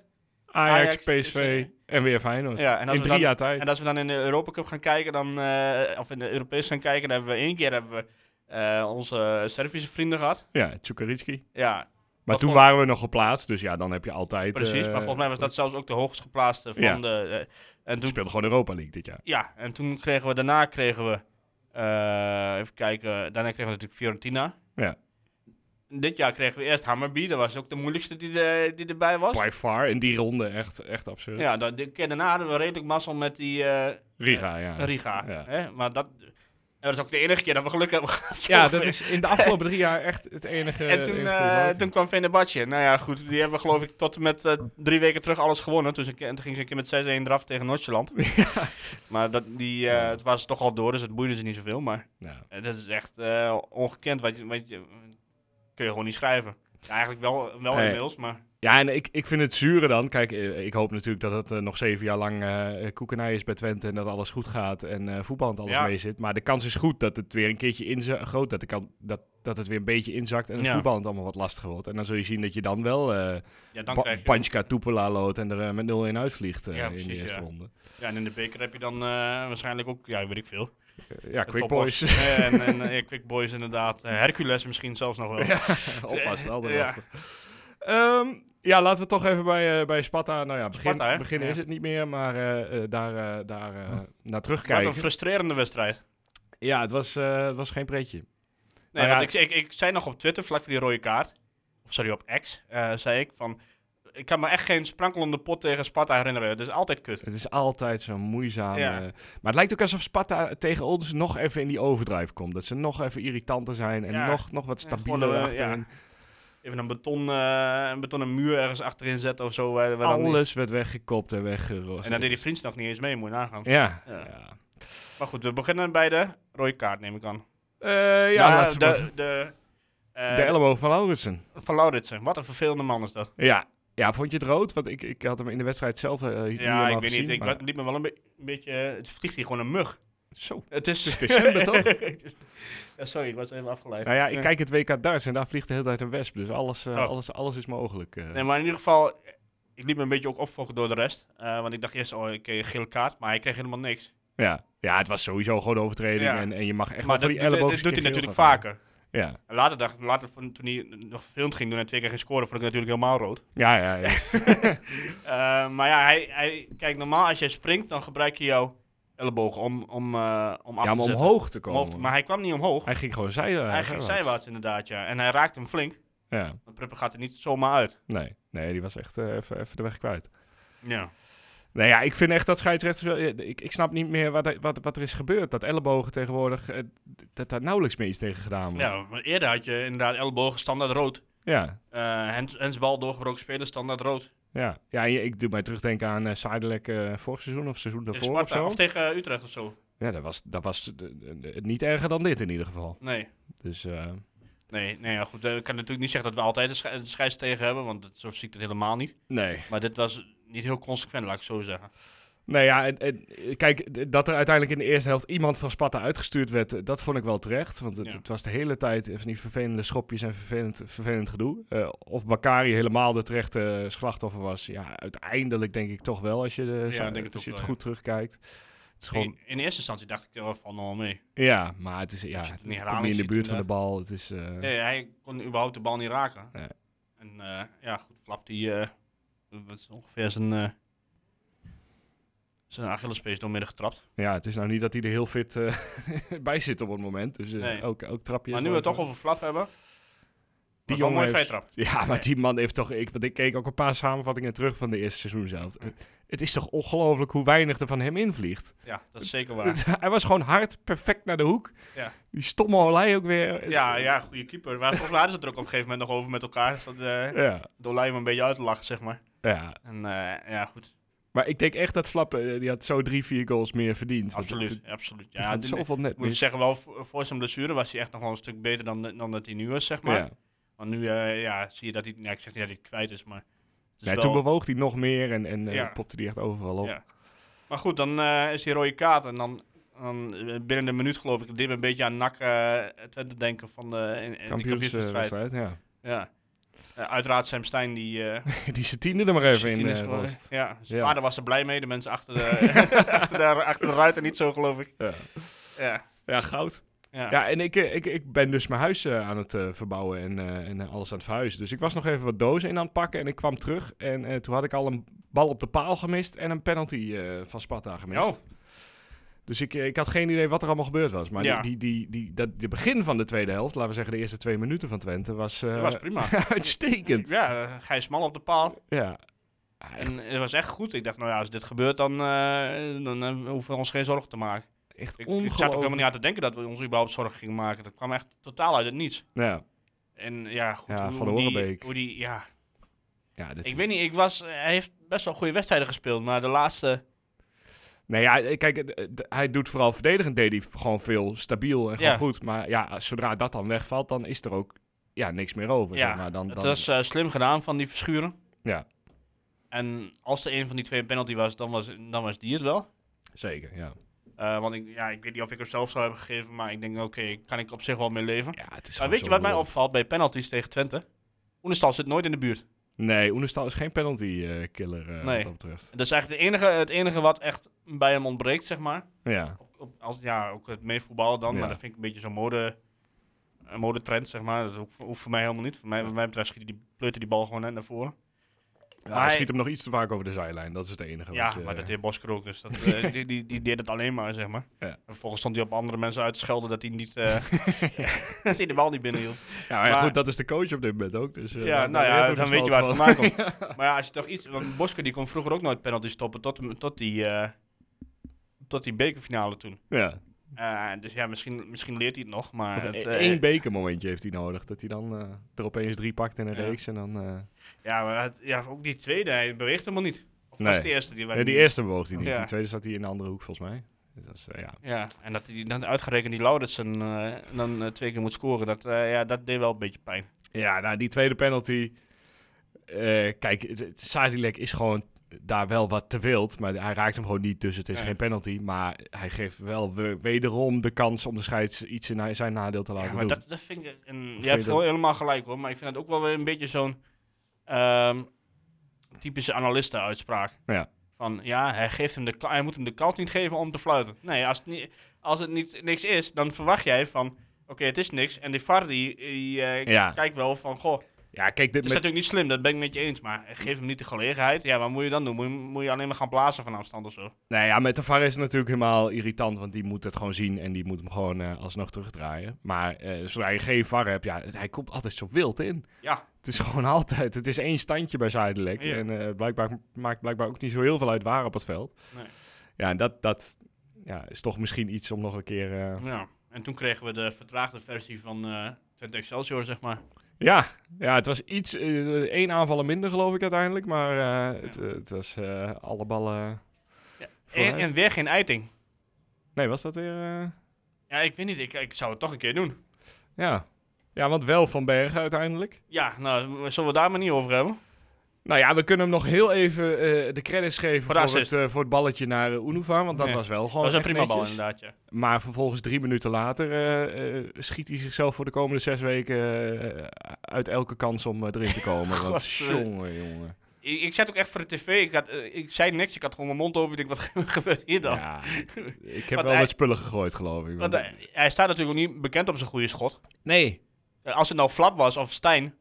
Speaker 4: Ajax, dus, eh,
Speaker 1: PSV en weer Feyenoord.
Speaker 4: Ja, en als
Speaker 1: in
Speaker 4: we
Speaker 1: drie
Speaker 4: dan-
Speaker 1: jaar tijd.
Speaker 4: En als we dan in de Europa Cup gaan kijken, dan, eh, of in de Europees gaan kijken, dan hebben we één keer hebben we, eh, onze Servische vrienden gehad.
Speaker 1: Ja, Tsukaritski.
Speaker 4: Ja,
Speaker 1: Maar
Speaker 4: Wat
Speaker 1: toen
Speaker 4: voor-
Speaker 1: waren we nog geplaatst, dus ja, dan heb je altijd...
Speaker 4: Precies,
Speaker 1: eh,
Speaker 4: maar volgens mij was dat zelfs ook de hoogst geplaatste van
Speaker 1: Ja.
Speaker 4: de. eh, en,
Speaker 1: We
Speaker 4: toen,
Speaker 1: speelden gewoon Europa League dit jaar.
Speaker 4: ja, en toen kregen we daarna kregen we. eh, even kijken, daarna kregen we natuurlijk Fiorentina.
Speaker 1: Ja.
Speaker 4: Dit jaar kregen we eerst Hammerby, dat was ook de moeilijkste die, de, die erbij was.
Speaker 1: By far, in die ronde echt, echt absurd.
Speaker 4: Ja, dan, de keer daarna hadden we redelijk mazzel met die eh,
Speaker 1: Riga, ja.
Speaker 4: Riga.
Speaker 1: Ja.
Speaker 4: Hè? Maar dat, en dat is ook de enige keer dat we geluk hebben gehad.
Speaker 1: Ja, dat is in de afgelopen drie jaar echt het enige...
Speaker 4: En toen,
Speaker 1: enige
Speaker 4: eh,
Speaker 1: fout.
Speaker 4: toen kwam Fenerbahce. Nou ja, goed, die hebben geloof ik tot en met eh, drie weken terug alles gewonnen. Toen, ze, en toen ging ze een keer met 6-1 eraf tegen Noordjeland. Maar dat, die, eh, het was toch al door, dus het boeide ze niet zoveel. Maar
Speaker 1: Ja.
Speaker 4: eh, dat is echt eh, ongekend. Wat je, wat je, kun je gewoon niet schrijven. Ja, eigenlijk wel, wel
Speaker 1: Nee.
Speaker 4: inmiddels, maar
Speaker 1: Ja, en ik, ik vind het zure dan. Kijk, eh, ik hoop natuurlijk dat het eh, nog zeven jaar lang eh koekenij is bij Twente en dat alles goed gaat en eh voetbal en alles
Speaker 4: Ja.
Speaker 1: mee zit. Maar de kans is goed dat het weer een keertje inzakt, groot dat, de kan, dat, dat het weer een beetje inzakt en het
Speaker 4: Ja.
Speaker 1: voetbal het allemaal wat lastiger wordt. En dan zul je zien dat je dan wel eh
Speaker 4: Ja, dan
Speaker 1: pa
Speaker 4: krijg je-
Speaker 1: Panchka Tupela loodt en er eh, met 0-1 uitvliegt eh,
Speaker 4: Ja,
Speaker 1: in de
Speaker 4: precies,
Speaker 1: eerste
Speaker 4: ja.
Speaker 1: ronde.
Speaker 4: ja, en in de beker heb je dan eh, waarschijnlijk ook, ja, weet ik veel.
Speaker 1: Eh, ja,
Speaker 4: De
Speaker 1: Quick
Speaker 4: toppers.
Speaker 1: Boys.
Speaker 4: en en eh, ja, Quick Boys inderdaad. Eh, Hercules misschien zelfs nog wel.
Speaker 1: Oppassen, altijd
Speaker 4: Ja.
Speaker 1: lastig. Ehm, ja, laten we toch even bij, eh, bij Sparta. Nou ja, begin,
Speaker 4: Sparta, hè?
Speaker 1: beginnen is
Speaker 4: Ja. Hm.
Speaker 1: het niet meer, maar eh, eh, daar, eh, daar eh, naar
Speaker 4: Wat
Speaker 1: terugkijken.
Speaker 4: een frustrerende wedstrijd.
Speaker 1: Ja, het was, eh, het was geen pretje.
Speaker 4: Nee,
Speaker 1: Nou ja,
Speaker 4: want ik, ik, ik zei nog op Twitter, vlak voor die rode kaart, of sorry, op X, eh, zei ik van, ik kan me echt geen sprankelende pot tegen Sparta herinneren. Het is altijd kut.
Speaker 1: Het is altijd zo moeizaam.
Speaker 4: Ja.
Speaker 1: eh. maar het lijkt ook alsof Sparta tegen ons nog even in die overdrijf komt. Dat ze nog even irritanter zijn en
Speaker 4: Ja.
Speaker 1: nog, nog wat
Speaker 4: Ja,
Speaker 1: stabieler
Speaker 4: gewoon, eh,
Speaker 1: achterin.
Speaker 4: Even een, beton, eh, een betonnen muur ergens achterin zetten of zo. waar- waar dan niet-
Speaker 1: Alles werd weggekopt en weggerost.
Speaker 4: en dan deed die vriend nog niet eens mee, moet je nagaan.
Speaker 1: Ja.
Speaker 4: Ja.
Speaker 1: ja.
Speaker 4: Maar goed, we beginnen bij de rode kaart, neem ik aan.
Speaker 1: Eh, ja,
Speaker 4: Maar
Speaker 1: laten we maar- de,
Speaker 4: de, de, eh,
Speaker 1: elleboog van Lauritsen.
Speaker 4: van Lauritsen. Wat een vervelende man is dat.
Speaker 1: Ja. ja, vond je het rood? Want ik, ik had hem in de wedstrijd zelf eh, niet
Speaker 4: Ja,
Speaker 1: helemaal
Speaker 4: ik weet
Speaker 1: gezien,
Speaker 4: niet. Ik
Speaker 1: maar-
Speaker 4: wa- liep me wel een, be- een beetje... eh, Het vliegt hier gewoon een mug.
Speaker 1: Zo.
Speaker 4: Het is,
Speaker 1: Het is december, toch?
Speaker 4: ja, sorry, ik was even afgeleid.
Speaker 1: Nou ja, ik kijk het WK darts en daar vliegt de hele tijd een wesp. Dus alles, eh,
Speaker 4: Oh.
Speaker 1: alles, alles is mogelijk. eh.
Speaker 4: Nee, maar in ieder geval... Ik liep me een beetje ook opfokken door de rest. Eh, want ik dacht eerst, oh, ik kreeg een gele kaart. Maar hij kreeg helemaal niks.
Speaker 1: Ja. ja, het was sowieso gewoon een overtreding.
Speaker 4: Ja.
Speaker 1: En, en je mag echt wel
Speaker 4: maar
Speaker 1: voor
Speaker 4: dat,
Speaker 1: die
Speaker 4: dat- dat
Speaker 1: elleboog.
Speaker 4: doet hij natuurlijk vaker.
Speaker 1: Ja.
Speaker 4: En Later, dacht, later vond- toen hij nog vervelend ging doen en twee keer geen scoren, vond ik het natuurlijk helemaal rood.
Speaker 1: Ja, ja, ja.
Speaker 4: Eh, maar ja, hij, hij, kijk, normaal als jij springt, dan gebruik je jouw ellebogen om, om, eh, om af
Speaker 1: ja,
Speaker 4: te
Speaker 1: maar
Speaker 4: zetten.
Speaker 1: omhoog te
Speaker 4: Omhoog,
Speaker 1: komen.
Speaker 4: maar hij kwam niet omhoog. Hij,
Speaker 1: hij ging gewoon zij,
Speaker 4: ging zijwaarts inderdaad, ja. En hij raakte hem flink.
Speaker 1: Ja,
Speaker 4: Want Pruppen gaat er niet zomaar uit.
Speaker 1: nee. Nee, die was echt eh, even, even de weg kwijt.
Speaker 4: Ja.
Speaker 1: Nou ja, ik vind echt dat scheidsrechters... wel- eh, Ik, ik snap niet meer wat, er- wat, wat er is gebeurd. Dat ellebogen tegenwoordig... eh, d- dat daar nauwelijks meer iets tegen gedaan wordt.
Speaker 4: ja, maar eerder had je inderdaad ellebogen standaard rood.
Speaker 1: Ja.
Speaker 4: Eh hands, handsbal doorgebroken spelen standaard rood.
Speaker 1: Ja, ja en je- ik doe mij terugdenken aan eh Sidelec eh, vorig seizoen of seizoen
Speaker 4: Tegen
Speaker 1: daarvoor of
Speaker 4: Sparta,
Speaker 1: zo.
Speaker 4: of tegen eh, Utrecht of zo.
Speaker 1: Ja, dat was, dat was eh, eh, eh, niet erger dan dit in ieder geval.
Speaker 4: Nee.
Speaker 1: Dus eh,
Speaker 4: Nee, nee ja, goed. eh, Ik kan natuurlijk niet zeggen dat we altijd een, sche- een scheids tegen hebben, want dat, zo zie ik dat helemaal niet.
Speaker 1: nee.
Speaker 4: Maar dit was niet heel consequent, laat ik het zo zeggen.
Speaker 1: Nou ja, en, en, kijk, d- dat er uiteindelijk in de eerste helft iemand van Sparta uitgestuurd werd, eh, dat vond ik wel terecht. Want het,
Speaker 4: Ja.
Speaker 1: het was de hele tijd van die vervelende schopjes en vervelend, vervelend gedoe. Eh, of Bakari helemaal de terechte slachtoffer was. Ja, uiteindelijk denk ik toch wel, als je, de,
Speaker 4: Ja, ik denk het
Speaker 1: als je
Speaker 4: ook
Speaker 1: het
Speaker 4: wel,
Speaker 1: goed terugkijkt. Het is gewoon,
Speaker 4: In, in eerste instantie dacht ik er wel van oh, allemaal mee.
Speaker 1: ja, maar het is, ja,
Speaker 4: Als je het
Speaker 1: het
Speaker 4: niet
Speaker 1: komt
Speaker 4: herhaling
Speaker 1: niet in de buurt
Speaker 4: ziet,
Speaker 1: van de
Speaker 4: inderdaad.
Speaker 1: bal. Het is, eh,
Speaker 4: Nee, hij kon überhaupt de bal niet raken.
Speaker 1: Nee.
Speaker 4: En eh, ja, goed, Flap die... eh, wat is het, ongeveer zijn... eh zijn Achillespees doormidden getrapt.
Speaker 1: Ja, het is nou niet dat hij er heel fit eh, bij zit op het moment. Dus eh,
Speaker 4: Nee.
Speaker 1: ook, ook trapjes.
Speaker 4: maar nu we het toch over Flap hebben... Die
Speaker 1: eh, jongen
Speaker 4: jongen mooi
Speaker 1: heeft-
Speaker 4: vrijtrap.
Speaker 1: Ja, maar die man heeft toch... Ik, want ik keek ook een paar samenvattingen terug van de eerste seizoen zelf. Eh, Het is toch ongelooflijk hoe weinig er van hem invliegt.
Speaker 4: Ja, dat is zeker waar.
Speaker 1: hij was gewoon hard, perfect naar de hoek.
Speaker 4: Ja.
Speaker 1: Die stomme Olij ook weer.
Speaker 4: Ja, ja, goede keeper. Maar volgens mij hadden ze het er ook op een gegeven moment nog over met elkaar. Dus dat eh
Speaker 1: Ja,
Speaker 4: Dolai hem een beetje uit te lachen, zeg maar.
Speaker 1: ja.
Speaker 4: En eh, ja, goed.
Speaker 1: Maar ik denk echt dat Flappen, eh, die had zo drie, vier goals meer verdiend. Want het-
Speaker 4: Absoluut,
Speaker 1: het-
Speaker 4: absoluut.
Speaker 1: het
Speaker 4: Ja,
Speaker 1: gaat
Speaker 4: die-
Speaker 1: zoveel net
Speaker 4: ik moet
Speaker 1: mis.
Speaker 4: zeggen, wel voor voor zijn blessure was hij echt nog wel een stuk beter dan, dan dat hij nu is, zeg maar.
Speaker 1: Ja.
Speaker 4: Want nu eh, ja, zie je dat hij, nou, ik zeg niet dat hij het kwijt is, maar... het is
Speaker 1: Nee,
Speaker 4: wel-
Speaker 1: Toen bewoog hij nog meer en, en eh,
Speaker 4: Ja.
Speaker 1: popte hij echt overal op.
Speaker 4: Ja. Maar goed, dan eh, is die rode kaart en dan, dan eh, binnen een minuut geloof ik, dit een beetje aan NAC eh Twente denken van de in, in die kampioenswedstrijd.
Speaker 1: Kampioenswedstrijd, ja.
Speaker 4: ja. Eh, uiteraard Sam Stein die... eh
Speaker 1: Die zijn tiende er maar even in
Speaker 4: Martinez
Speaker 1: eh,
Speaker 4: voor-
Speaker 1: rost.
Speaker 4: ja, zijn
Speaker 1: Ja.
Speaker 4: vader was er blij mee, de mensen achter de, achter de, achter de ruiten niet zo geloof ik.
Speaker 1: Ja.
Speaker 4: Ja,
Speaker 1: Ja, goud.
Speaker 4: ja.
Speaker 1: Ja, en ik, eh, ik, ik ben dus mijn huis eh, aan het eh, verbouwen en, eh, en eh, alles aan het verhuizen. Dus ik was nog even wat dozen in aan het pakken en ik kwam terug. En eh, toen had ik al een bal op de paal gemist en een penalty eh, van Sparta gemist.
Speaker 4: Oh.
Speaker 1: Dus ik, eh, ik had geen idee wat er allemaal gebeurd was. Maar
Speaker 4: Ja.
Speaker 1: die, die, die, dat, de begin van de tweede helft, laten we zeggen de eerste twee minuten van Twente, was, eh,
Speaker 4: Dat was prima.
Speaker 1: uitstekend. Ja.
Speaker 4: Ja, eh, Gijs Mal op de paal.
Speaker 1: Ja, Ah, echt,
Speaker 4: En het was echt goed. Ik dacht, nou ja, als dit gebeurt, dan, eh, dan eh, hoeven we ons geen zorgen te maken.
Speaker 1: echt
Speaker 4: Ik, ik zat ook helemaal
Speaker 1: ongelooflijk.
Speaker 4: niet aan te denken dat we ons überhaupt zorgen gingen maken. Dat kwam echt totaal uit het niets.
Speaker 1: Ja,
Speaker 4: En ja, goed,
Speaker 1: Ja,
Speaker 4: hoe,
Speaker 1: Van de
Speaker 4: hoe
Speaker 1: Horenbeek.
Speaker 4: Die, hoe die, ja.
Speaker 1: ja, dit
Speaker 4: Ik
Speaker 1: is-
Speaker 4: weet niet, ik was, eh, hij heeft best wel goede wedstrijden gespeeld, maar de laatste...
Speaker 1: Nou ja, eh, kijk, eh, d- hij doet vooral verdedigend, deed hij gewoon veel stabiel en gewoon
Speaker 4: Ja.
Speaker 1: goed. Maar ja, zodra dat dan wegvalt, dan is er ook ja, niks meer over.
Speaker 4: Ja,
Speaker 1: zeg maar. nou, dan,
Speaker 4: Het
Speaker 1: dan,
Speaker 4: was eh, slim gedaan van die verschuren.
Speaker 1: Ja,
Speaker 4: En als er een van die twee een penalty was, dan was, dan was die het wel.
Speaker 1: zeker. Ja.
Speaker 4: Eh, want ik, ja, ik weet niet of ik hem zelf zou hebben gegeven, maar ik denk, oké, kan ik op zich wel mee leven.
Speaker 1: ja, het is
Speaker 4: maar
Speaker 1: gewoon
Speaker 4: weet je
Speaker 1: zo
Speaker 4: wat mij
Speaker 1: lullig.
Speaker 4: opvalt bij penalties tegen Twente? Oenestal zit nooit in de buurt.
Speaker 1: Nee, Oenestal is geen penalty-killer
Speaker 4: Nee.
Speaker 1: eh, wat dat betreft.
Speaker 4: Dat is eigenlijk het enige, het enige wat echt bij hem ontbreekt, zeg maar.
Speaker 1: Ja,
Speaker 4: Op, op- als, ja, ook het meevoetballen dan,
Speaker 1: Ja.
Speaker 4: maar dat vind ik een beetje zo'n mode, een modetrend, zeg maar. Dat hoeft, hoeft voor mij helemaal niet. Voor mij, wat mij betreft schiet hij die, pleurt hij die bal gewoon net naar voren.
Speaker 1: Ja,
Speaker 4: Maar
Speaker 1: hij
Speaker 4: hij-
Speaker 1: schiet hem nog iets te vaak over de zijlijn. Dat is het enige.
Speaker 4: Ja,
Speaker 1: wat je-
Speaker 4: maar dat deed Bosker ook, dus dat, eh, die, die, die deed het alleen maar, zeg maar.
Speaker 1: Ja.
Speaker 4: En vervolgens stond hij op andere mensen uit te schelden dat hij, niet, eh, dat hij de bal niet binnen hield.
Speaker 1: ja, maar ja,
Speaker 4: maar-
Speaker 1: goed, dat is de coach op dit moment ook. Dus, eh,
Speaker 4: Ja,
Speaker 1: daar-
Speaker 4: nou
Speaker 1: daar
Speaker 4: ja,
Speaker 1: leert
Speaker 4: dan
Speaker 1: Oenestal
Speaker 4: weet je waar het
Speaker 1: wel.
Speaker 4: vandaan komt. Maar ja, als je toch iets... Want Bosker die kon vroeger ook nooit penalty stoppen tot, hem- tot, die, eh, tot die bekerfinale toen.
Speaker 1: Ja, E-
Speaker 4: Eh, dus ja, misschien, misschien leert hij het nog, maar... Het, eh,
Speaker 1: één bekermomentje heeft hij nodig. Dat hij dan eh, er opeens drie pakt in een
Speaker 4: Ja.
Speaker 1: reeks. En dan, eh,
Speaker 4: ja, maar het- ja, ook die tweede, hij beweegt helemaal niet. Of was
Speaker 1: Nee.
Speaker 4: het de eerste die... waar
Speaker 1: nee, die
Speaker 4: hij-
Speaker 1: eerste bewoog hij niet.
Speaker 4: Ja.
Speaker 1: Die tweede zat hij in een andere hoek, volgens mij. Dus dat is, eh, ja.
Speaker 4: Ja, en dat hij dan uitgerekend die Lauritsen eh, dan eh, twee keer moet scoren, dat, eh, ja, dat deed wel een beetje pijn.
Speaker 1: ja, nou, die tweede penalty. eh, kijk, het- het- Sadilek is gewoon daar wel wat te wild. Maar hij raakt hem gewoon niet, dus het is
Speaker 4: Nee.
Speaker 1: geen penalty. Maar hij geeft wel we- wederom de kans om de scheids iets in hij- zijn nadeel te laten
Speaker 4: Ja, maar
Speaker 1: doen.
Speaker 4: dat, dat vind ik... En, je
Speaker 1: je
Speaker 4: hebt
Speaker 1: dat?
Speaker 4: wel helemaal gelijk hoor, maar ik vind dat ook wel weer een beetje zo'n ehm, typische analisten-uitspraak.
Speaker 1: Ja.
Speaker 4: Van ja, hij, geeft hem de, ka- hij moet hem de kans niet geven om te fluiten. Nee, als het, niet, als het niet, niks is, dan verwacht jij van... Oké, het is niks. En die VAR die, die eh,
Speaker 1: Ja.
Speaker 4: kijkt wel van... Goh, het
Speaker 1: Ja, kijk, dit
Speaker 4: is natuurlijk niet slim, dus dat ben ik met je eens. Maar geef hem niet de gelegenheid. Ja, wat moet je dan doen? Moet je, moet je alleen maar gaan blazen van afstand of zo?
Speaker 1: Nou ja, met de VAR is het natuurlijk helemaal irritant, want die moet het gewoon zien en die moet hem gewoon eh, alsnog terugdraaien. Maar eh zodra je geen VAR hebt, ja, het- hij komt altijd zo wild in.
Speaker 4: Ja.
Speaker 1: Het is gewoon altijd, het is één standje bij Zuidelijk.
Speaker 4: Ja.
Speaker 1: En eh, blijkbaar maakt blijkbaar ook niet zo heel veel uit waar op het veld.
Speaker 4: Nee.
Speaker 1: Ja, en dat, dat ja, is toch misschien iets om nog een keer... eh,
Speaker 4: Ja. En toen kregen we de vertraagde versie van eh Twente Excelsior, zeg maar.
Speaker 1: Ja, ja, het was iets, eh, één aanvallen minder geloof ik uiteindelijk, maar eh, het, eh, het was eh, alle ballen...
Speaker 4: Ja. En,
Speaker 1: vooruit.
Speaker 4: en weer geen eiting.
Speaker 1: Nee, was dat weer... eh,
Speaker 4: Ja, ik weet niet. Ik, ik zou het toch een keer doen.
Speaker 1: Ja. ja, want wel Van Bergen uiteindelijk.
Speaker 4: Ja, nou, zullen we daar maar niet over hebben?
Speaker 1: Nou ja, we kunnen hem nog heel even eh, de credits geven
Speaker 4: Voor
Speaker 1: voor,
Speaker 4: de
Speaker 1: het, eh, voor het balletje naar eh, Unuva. Want dat
Speaker 4: Ja.
Speaker 1: was wel gewoon.
Speaker 4: dat was
Speaker 1: echt
Speaker 4: een prima bal,
Speaker 1: netjes.
Speaker 4: inderdaad, ja.
Speaker 1: Maar vervolgens drie minuten later eh, eh, schiet hij zichzelf voor de komende zes weken eh, uit elke kans om eh, erin te komen. want
Speaker 4: God, eh.
Speaker 1: jongen, jongen.
Speaker 4: Ik, ik zat ook echt voor de tv. Ik, had, eh, ik zei niks. Ik had gewoon mijn mond open. Ik dacht, wat gebeurt hier dan?
Speaker 1: Ja, ik heb
Speaker 4: Want
Speaker 1: wel
Speaker 4: hij-
Speaker 1: wat spullen gegooid, geloof ik. want-
Speaker 4: Want hij, hij staat natuurlijk ook niet bekend op zijn goede schot.
Speaker 1: nee.
Speaker 4: Eh, als het nou Flap was of Stijn...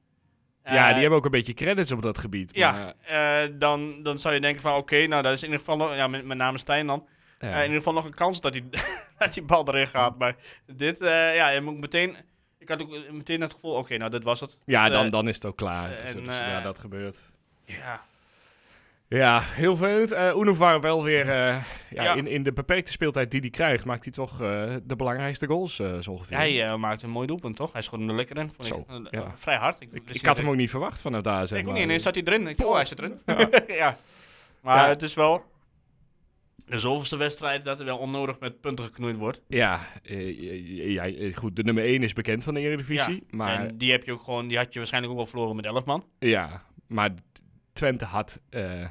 Speaker 4: eh,
Speaker 1: ja, die hebben ook een beetje credits op dat gebied.
Speaker 4: Ja,
Speaker 1: maar,
Speaker 4: eh, dan, dan zou je denken van, oké, nou, dat is in ieder geval... nog- Ja, met, met name Stijn dan.
Speaker 1: ja.
Speaker 4: Eh, in ieder geval nog een kans dat die, dat die bal erin gaat. Maar dit, eh, ja, je moet meteen... Ik had ook eh, meteen het gevoel, oké, nou, dit was het.
Speaker 1: ja,
Speaker 4: eh,
Speaker 1: dan, dan is het ook klaar.
Speaker 4: en,
Speaker 1: Dus, dus,
Speaker 4: eh,
Speaker 1: ja, dat gebeurt.
Speaker 4: Ja,
Speaker 1: Ja, heel vervelend. Eh Unuvar wel weer eh, ja,
Speaker 4: Ja.
Speaker 1: In, in de beperkte speeltijd die hij krijgt, maakt hij toch eh, de belangrijkste goals eh, zo ongeveer.
Speaker 4: Hij eh, maakte een mooi doelpunt, toch? Hij schoot hem er lekker in. Vond
Speaker 1: Zo,
Speaker 4: ik. Eh,
Speaker 1: ja.
Speaker 4: Vrij hard. wist
Speaker 1: ik,
Speaker 4: niet
Speaker 1: ik had
Speaker 4: dat
Speaker 1: hem ook niet verwacht vanaf daar, zeg
Speaker 4: Ik ook
Speaker 1: maar.
Speaker 4: niet, ineens zat hij erin. Ik, oh, hij zit erin. Ja. Maar
Speaker 1: Ja.
Speaker 4: het is wel de zoveelste wedstrijd dat er wel onnodig met punten geknoeid wordt.
Speaker 1: Ja, eh, ja, ja, goed, de nummer 1 is bekend van de Eredivisie.
Speaker 4: Ja.
Speaker 1: Maar,
Speaker 4: En die, heb je ook gewoon, die had je waarschijnlijk ook wel verloren met 11 man.
Speaker 1: ja, maar Twente had eh,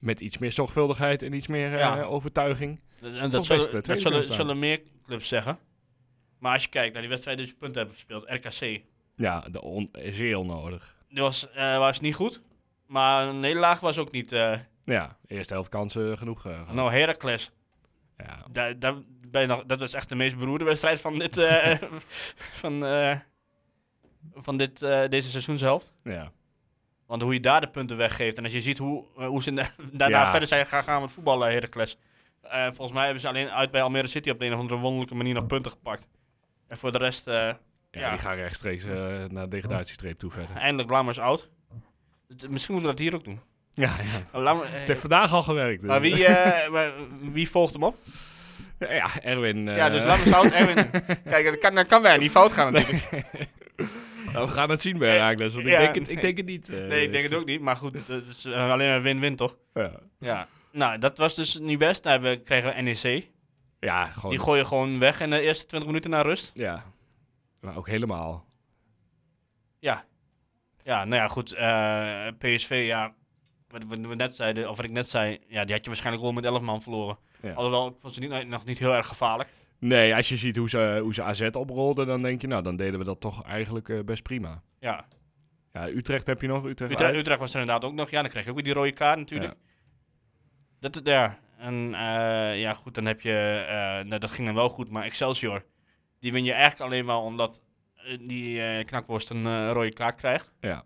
Speaker 1: met iets meer zorgvuldigheid en iets meer eh,
Speaker 4: Ja.
Speaker 1: overtuiging.
Speaker 4: En dat
Speaker 1: Toch
Speaker 4: zullen,
Speaker 1: best, eh, tweede
Speaker 4: dat zullen,
Speaker 1: kunnen staan.
Speaker 4: zullen meer clubs zeggen. Maar als je kijkt naar die wedstrijd die ze punten hebben gespeeld, RKC.
Speaker 1: Ja, de on- zeer onnodig.
Speaker 4: Die was, eh, was niet goed, maar een nederlaag was ook niet. eh,
Speaker 1: Ja, eerste helft kansen genoeg. eh, gehad.
Speaker 4: nou, Heracles.
Speaker 1: ja.
Speaker 4: Da- da- ben je nog, dat was echt de meest beroerde wedstrijd van, dit, eh, van, eh, van dit, eh, deze seizoenshelft.
Speaker 1: Ja.
Speaker 4: Want hoe je daar de punten weggeeft. En als je ziet hoe, eh, hoe ze da- daarna
Speaker 1: Ja.
Speaker 4: verder zijn gaan gaan met voetballen, Heracles. Eh, volgens mij hebben ze alleen uit bij Almere City op de een of andere wonderlijke manier nog punten gepakt. En voor de rest, eh,
Speaker 1: Ja,
Speaker 4: Ja.
Speaker 1: die gaan rechtstreeks eh, naar de degradatiestreep toe verder.
Speaker 4: eindelijk Lammers oud. Het- Misschien moeten we dat hier ook doen.
Speaker 1: Ja, ja.
Speaker 4: Lammer- eh,
Speaker 1: Het heeft vandaag al gewerkt. dus.
Speaker 4: maar wie, eh, maar wie volgt hem op?
Speaker 1: Ja, Erwin. eh,
Speaker 4: Ja, dus Lammers oud. Erwin. Kijk, dat kan, dat kan wij niet fout gaan natuurlijk.
Speaker 1: nou, we gaan het zien bij
Speaker 4: Eh,
Speaker 1: Raakles, want
Speaker 4: ja,
Speaker 1: ik, denk het, ik
Speaker 4: nee.
Speaker 1: denk het niet. eh,
Speaker 4: Nee, ik denk het ook niet. Maar goed, het is eh, alleen een win-win, toch?
Speaker 1: Ja,
Speaker 4: Ja. Nou, dat was dus niet best. Nou, we kregen NEC.
Speaker 1: ja gewoon.
Speaker 4: Die gooien gewoon weg in de eerste 20 minuten naar rust.
Speaker 1: ja. Maar ook helemaal.
Speaker 4: Ja. Ja, nou ja, goed. eh, PSV, ja. wat, wat we net zeiden, of wat ik net zei, ja, die had je waarschijnlijk gewoon met 11 man verloren.
Speaker 1: Ja.
Speaker 4: Alhoewel, ik vond ze niet, nog niet heel erg gevaarlijk.
Speaker 1: Nee, als je ziet hoe ze, hoe ze AZ oprolden, dan denk je, nou, dan deden we dat toch eigenlijk eh, best prima.
Speaker 4: Ja.
Speaker 1: Ja, Utrecht heb je nog, Utrecht,
Speaker 4: Utrecht,
Speaker 1: uit.
Speaker 4: Utrecht was er inderdaad ook nog. Ja, dan kreeg je ook weer die rode kaart natuurlijk. Dat, ja. En eh, ja, goed, dan heb je... eh, nou, dat ging dan wel goed, maar Excelsior... Die win je eigenlijk alleen maar omdat eh, die eh, knakworst een eh, rode kaart krijgt.
Speaker 1: Ja.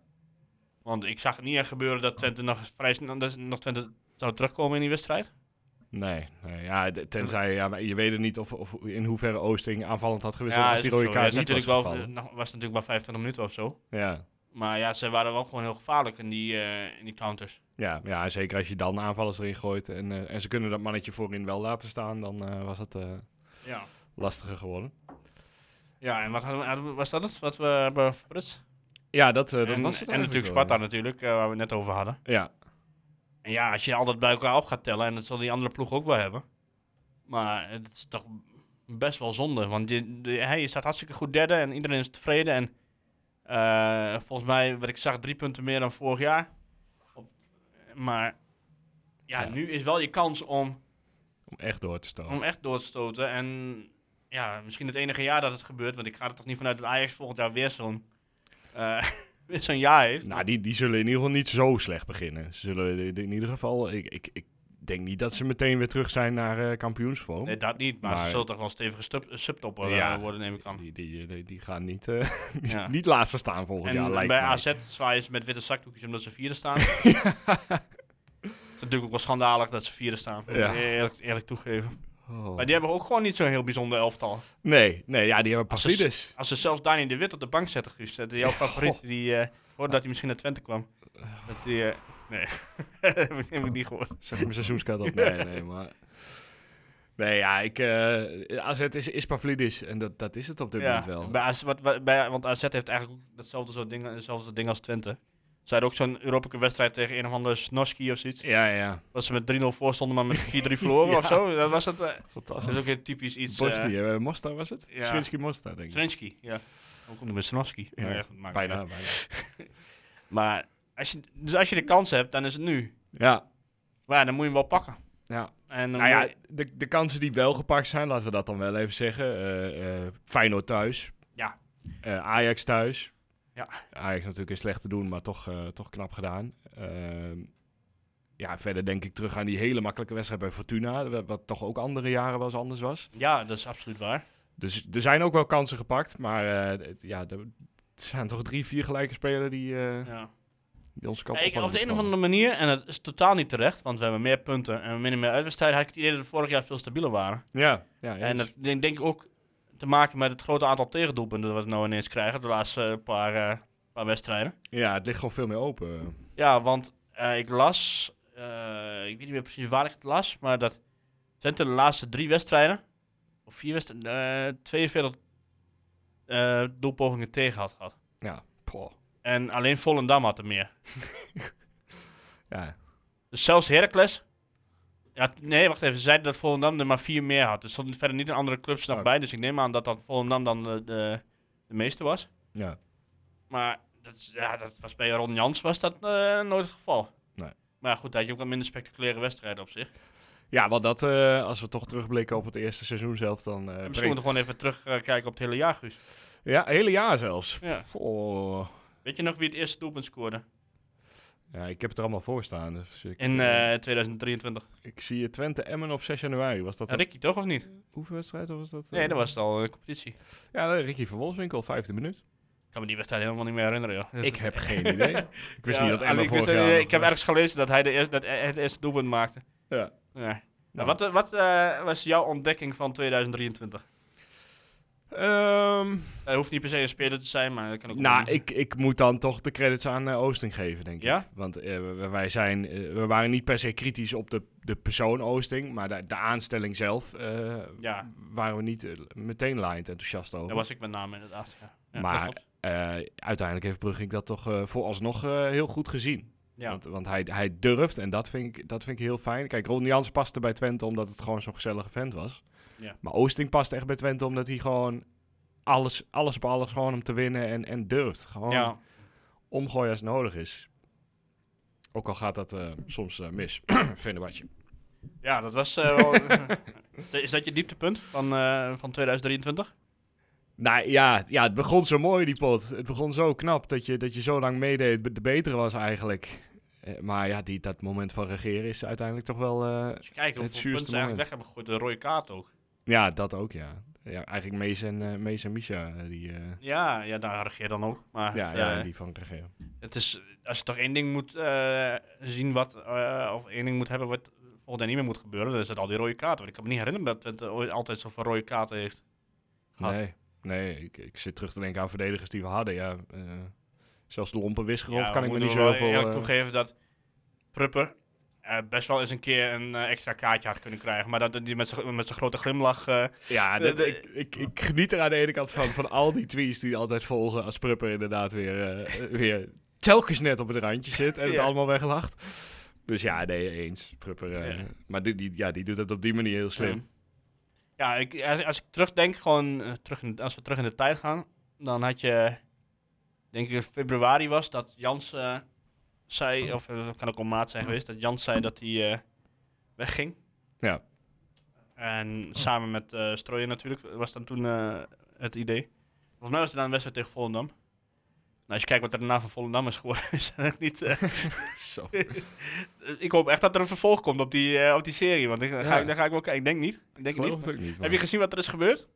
Speaker 4: Want ik zag het niet echt gebeuren dat Twente nog vrij snel... dat nog Twente zou terugkomen in die wedstrijd.
Speaker 1: Nee, nee ja, d- tenzij, ja, maar je weet het niet of, of in hoeverre Oosting aanvallend had gewisseld
Speaker 4: dat
Speaker 1: als
Speaker 4: is
Speaker 1: die
Speaker 4: ook
Speaker 1: rode
Speaker 4: zo.
Speaker 1: kaart
Speaker 4: Ja,
Speaker 1: niet
Speaker 4: is
Speaker 1: Dus was
Speaker 4: natuurlijk wel,
Speaker 1: gevallen.
Speaker 4: eh, nog- was natuurlijk maar 25 minuten of zo.
Speaker 1: Ja.
Speaker 4: Maar ja, ze waren wel gewoon heel gevaarlijk in die, eh, in die counters.
Speaker 1: Ja, ja, zeker als je dan aanvallers erin gooit en, eh, en ze kunnen dat mannetje voorin wel laten staan, dan eh, was het eh,
Speaker 4: Ja.
Speaker 1: lastiger geworden.
Speaker 4: Ja, en wat hadden we- hadden we- was dat het? Wat we hebben verprutst?
Speaker 1: Ja, dat, eh, dat
Speaker 4: en,
Speaker 1: was het
Speaker 4: en natuurlijk
Speaker 1: eigenlijk
Speaker 4: Sparta
Speaker 1: wel,
Speaker 4: natuurlijk, eh, waar we het net over hadden.
Speaker 1: Ja, Ja,
Speaker 4: En ja, als je al dat bij elkaar op gaat tellen, en dat zal die andere ploeg ook wel hebben. Maar het is toch best wel zonde, want je, de- hey, je staat hartstikke goed derde en iedereen is tevreden. En eh, volgens mij, wat ik zag, drie punten meer dan vorig jaar. Op- maar ja,
Speaker 1: Ja.
Speaker 4: nu is wel je kans om,
Speaker 1: om echt door te stoten.
Speaker 4: om echt door te stoten. En ja, misschien het enige jaar dat het gebeurt, want ik ga er toch niet vanuit dat Ajax volgend jaar weer zo'n... eh, weer zo'n jaar heeft.
Speaker 1: Nou, die, die zullen in ieder geval niet zo slecht beginnen. Ze zullen in- in ieder geval, ik, ik, ik denk niet dat ze meteen weer terug zijn naar eh, kampioensvorm.
Speaker 4: Nee, dat niet, maar,
Speaker 1: Maar-
Speaker 4: ze zullen toch wel een stevige sub- subtopper eh,
Speaker 1: Ja.
Speaker 4: worden, neem ik aan.
Speaker 1: die, die, die, die gaan niet, eh, niet,
Speaker 4: Ja.
Speaker 1: niet laatste staan volgend
Speaker 4: En
Speaker 1: jaar, lijkt
Speaker 4: bij
Speaker 1: mij.
Speaker 4: AZ zwaaien ze met witte zakdoekjes omdat ze vierde staan. Het is natuurlijk ook wel schandalig dat ze vierde staan, moet ik
Speaker 1: Ja.
Speaker 4: eerlijk, eerlijk toegeven.
Speaker 1: Oh.
Speaker 4: Maar die hebben ook gewoon niet zo'n heel bijzonder elftal.
Speaker 1: Nee, nee, ja, die hebben
Speaker 4: Als ze,
Speaker 1: Pavlidis.
Speaker 4: als ze zelfs Dani de Wit op de bank zetten, Guus, dat jouw favoriet, die eh, hoorde dat hij misschien naar Twente kwam. Dat die, eh, nee, dat heb ik niet gehoord.
Speaker 1: Zeg mijn seizoenskaart op. Nee, nee, maar... Nee, ja, ik, eh, AZ is, is Pavlidis en dat, dat is het op dit
Speaker 4: Ja,
Speaker 1: moment wel.
Speaker 4: Bij AZ, wat, wat- bij, want AZ heeft eigenlijk ook datzelfde soort dingen, hetzelfde ding als Twente. Ze hadden ook zo'n Europese wedstrijd tegen een of andere Snoski of zoiets.
Speaker 1: Ja, ja.
Speaker 4: Dat ze met 3-0 voor stonden, maar met 4-3 verloren
Speaker 1: Ja.
Speaker 4: of zo. Dat was het. eh, dat is
Speaker 1: Fantastisch.
Speaker 4: ook een typisch iets. eh,
Speaker 1: Bosnië, eh, Mostar was het?
Speaker 4: ja.
Speaker 1: Srinski Mostar, denk ik.
Speaker 4: Srensky, ja. Ook noemen we Snoski.
Speaker 1: Ja, Bijna, bijna.
Speaker 4: Maar als je, dus als je de kans hebt, dan is het nu.
Speaker 1: Ja,
Speaker 4: Maar ja, dan moet je hem wel pakken.
Speaker 1: ja.
Speaker 4: En dan
Speaker 1: Nou ja,
Speaker 4: moet je-
Speaker 1: de, de kansen die wel gepakt zijn, laten we dat dan wel even zeggen. Eh, eh, Feyenoord thuis.
Speaker 4: Ja.
Speaker 1: Eh, Ajax thuis.
Speaker 4: Ja.
Speaker 1: Ajax natuurlijk is slecht te doen, maar toch, eh, toch knap gedaan. Ehm, ja, verder denk ik terug aan die hele makkelijke wedstrijd bij Fortuna. wa- Wat toch ook andere jaren wel eens anders was.
Speaker 4: ja, dat is absoluut waar.
Speaker 1: Dus er zijn ook wel kansen gepakt. Maar eh, d- ja, er zijn toch drie, vier gelijke spelers die, eh,
Speaker 4: Ja.
Speaker 1: die onze kant
Speaker 4: Ja, ik-
Speaker 1: hadden
Speaker 4: op de een of
Speaker 1: moeten vallen.
Speaker 4: andere manier, en dat is totaal niet terecht, want we hebben meer punten en minder meer uitwedstrijden, had ik het idee dat we vorig jaar veel stabieler waren.
Speaker 1: Ja, ja,
Speaker 4: En
Speaker 1: eens.
Speaker 4: dat denk, denk ik ook te maken met het grote aantal tegendoelpunten dat we nou ineens krijgen de laatste eh, paar, eh, paar wedstrijden.
Speaker 1: ja, het ligt gewoon veel meer open.
Speaker 4: Ja, want eh, ik las, eh, ik weet niet meer precies waar ik het las, maar dat Twente de laatste drie wedstrijden, of vier wedstrijden, eh, 42 eh, doelpogingen tegen had gehad.
Speaker 1: Ja, poh.
Speaker 4: En alleen Volendam had er meer.
Speaker 1: ja.
Speaker 4: Dus zelfs Heracles, ja, t- nee, wacht even, ze zeiden dat Volendam er maar vier meer had. Er stonden verder niet een andere clubs nog
Speaker 1: Oh.
Speaker 4: bij, dus ik neem aan dat dan Volendam dan de, de, de meeste was.
Speaker 1: ja.
Speaker 4: Maar dat, is- ja, dat was bij Ron Jans was dat eh, nooit het geval.
Speaker 1: Nee. Eh,
Speaker 4: Maar goed, daar had je ook wat minder spectaculaire wedstrijden op zich.
Speaker 1: Ja, want dat, eh, als we toch terugblikken op het eerste seizoen zelf, dan eh
Speaker 4: En misschien
Speaker 1: breekt-
Speaker 4: moeten we gewoon even terugkijken op het hele jaar, Guus.
Speaker 1: Ja, hele jaar zelfs.
Speaker 4: Ja.
Speaker 1: Oh.
Speaker 4: Weet je nog wie het eerste doelpunt scoorde?
Speaker 1: Ja, ik heb het er allemaal voor staan. Dus ik,
Speaker 4: In
Speaker 1: eh,
Speaker 4: eh, 2023.
Speaker 1: ik zie je Twente Emmen op 6 januari. Was dat
Speaker 4: Ja,
Speaker 1: een
Speaker 4: Eh, Ricky, toch of niet?
Speaker 1: hoeveel wedstrijd was dat?
Speaker 4: Nee,
Speaker 1: eh?
Speaker 4: dat was het al de competitie. Ik
Speaker 1: Ja, eh, Ricky van Wolfswinkel, vijfde minuut.
Speaker 4: kan me die wedstrijd helemaal niet meer herinneren, joh.
Speaker 1: Ik heb geen idee. Ik wist
Speaker 4: Ja,
Speaker 1: niet dat
Speaker 4: Ali,
Speaker 1: Emmen
Speaker 4: ik wist
Speaker 1: vorig
Speaker 4: dat-
Speaker 1: jaar... eh,
Speaker 4: Ik heb ergens gelezen dat hij de eerste, dat hij het eerste doelpunt maakte.
Speaker 1: Ja.
Speaker 4: Ja. Nou, wat eh, wat eh, was jouw ontdekking van 2023?
Speaker 1: Ehm,
Speaker 4: Het hoeft niet per se een speler te zijn, maar dat kan ook...
Speaker 1: nou, ik, ik moet dan toch de credits aan eh, Oosting geven, denk ik.
Speaker 4: Ja?
Speaker 1: Want eh, we- wij zijn, eh, we waren niet per se kritisch op de, de persoon Oosting, maar de, de aanstelling zelf eh,
Speaker 4: Ja.
Speaker 1: waren we niet eh, meteen laaiend enthousiast over.
Speaker 4: Daar was ik met name inderdaad. Ja. Ja, dat
Speaker 1: Maar-
Speaker 4: klopt.
Speaker 1: Eh, uiteindelijk heeft Brugging dat toch eh, vooralsnog eh, heel goed gezien.
Speaker 4: Ja.
Speaker 1: Want, want hij, hij durft en dat vind, ik, dat vind ik heel fijn. Kijk, Ron Jans paste bij Twente omdat het gewoon zo'n gezellige vent was.
Speaker 4: Ja.
Speaker 1: Maar Oosting past echt bij Twente omdat hij gewoon alles, alles op alles Oh. gewoon om te winnen en, en durft. Gewoon
Speaker 4: ja.
Speaker 1: omgooien als het nodig is. Ook al gaat dat eh, soms eh, mis. Fenerbahce.
Speaker 4: Ja, dat was. eh, wel- is dat je dieptepunt van, eh, van 2023?
Speaker 1: Nou ja, ja, het begon zo mooi, die pot. Het begon zo knap dat je, dat je zo lang meedeed. De betere was eigenlijk. Eh, maar ja, die, dat moment van regeren is uiteindelijk toch wel... eh,
Speaker 4: Als je
Speaker 1: Het
Speaker 4: kijkt hoeveel punten
Speaker 1: zuurste
Speaker 4: ze eigenlijk
Speaker 1: moment.
Speaker 4: weg hebben gegooid, de rode kaart ook.
Speaker 1: ja, dat ook, ja. ja eigenlijk Mees en, eh Mees en Misha, eh, die... eh,
Speaker 4: Ja, ja daar regeer dan ook. Maar
Speaker 1: ja,
Speaker 4: Ah, ja,
Speaker 1: ja, die van het regeren.
Speaker 4: het is, als je toch één ding moet eh, zien wat, eh, of één ding moet hebben wat volgend jaar niet meer moet gebeuren, dan is het al die rode kaarten. Want ik kan me niet herinneren dat Twente ooit altijd zoveel rode kaarten heeft. Gehad.
Speaker 1: Nee, nee ik, ik zit terug te denken aan verdedigers die we hadden, ja. eh, zelfs de lompenwisgerhof
Speaker 4: Ja,
Speaker 1: kan
Speaker 4: we
Speaker 1: ik me niet
Speaker 4: moeten wel
Speaker 1: zoveel...
Speaker 4: eerlijk
Speaker 1: eh,
Speaker 4: toegeven dat Prupper eh, best wel eens een keer een eh, extra kaartje had kunnen krijgen. Maar dat dat die met zijn grote glimlach. eh,
Speaker 1: Ja,
Speaker 4: De-
Speaker 1: dat,
Speaker 4: de-
Speaker 1: ik, ik, ik geniet er aan de ene kant van, van al die tweets die altijd volgen als Prupper inderdaad weer, eh, eh, weer telkens net op het randje zit en het
Speaker 4: Ja.
Speaker 1: allemaal weglacht. Dus ja, nee, eens. Prupper, eh,
Speaker 4: Ja.
Speaker 1: maar die, die, ja, die doet het op die manier heel slim.
Speaker 4: Ehm, Ja, ik, als, als ik terugdenk, gewoon eh, terug in, als we terug in de tijd gaan, dan had je, denk ik, in februari was dat Jans eh, zei,
Speaker 1: Oh.
Speaker 4: of eh, dat kan ook om maat zijn geweest, dat Jans zei dat hij eh, wegging.
Speaker 1: Ja.
Speaker 4: En samen met eh Strooijen natuurlijk was dan toen eh, het idee. Volgens mij was het dan een wedstrijd tegen Volendam. Nou, als je kijkt wat er daarna van Volendam is geworden, is dat niet... eh,
Speaker 1: Zo.
Speaker 4: ik hoop echt dat er een vervolg komt op die, eh, op die serie, want ik, daar ga,
Speaker 1: Ja.
Speaker 4: ik, daar ga ik wel kijken. Ik denk niet. Ik
Speaker 1: Ik
Speaker 4: denk het
Speaker 1: geloof
Speaker 4: niet.
Speaker 1: het ook niet.
Speaker 4: Heb je
Speaker 1: man.
Speaker 4: gezien wat er is gebeurd?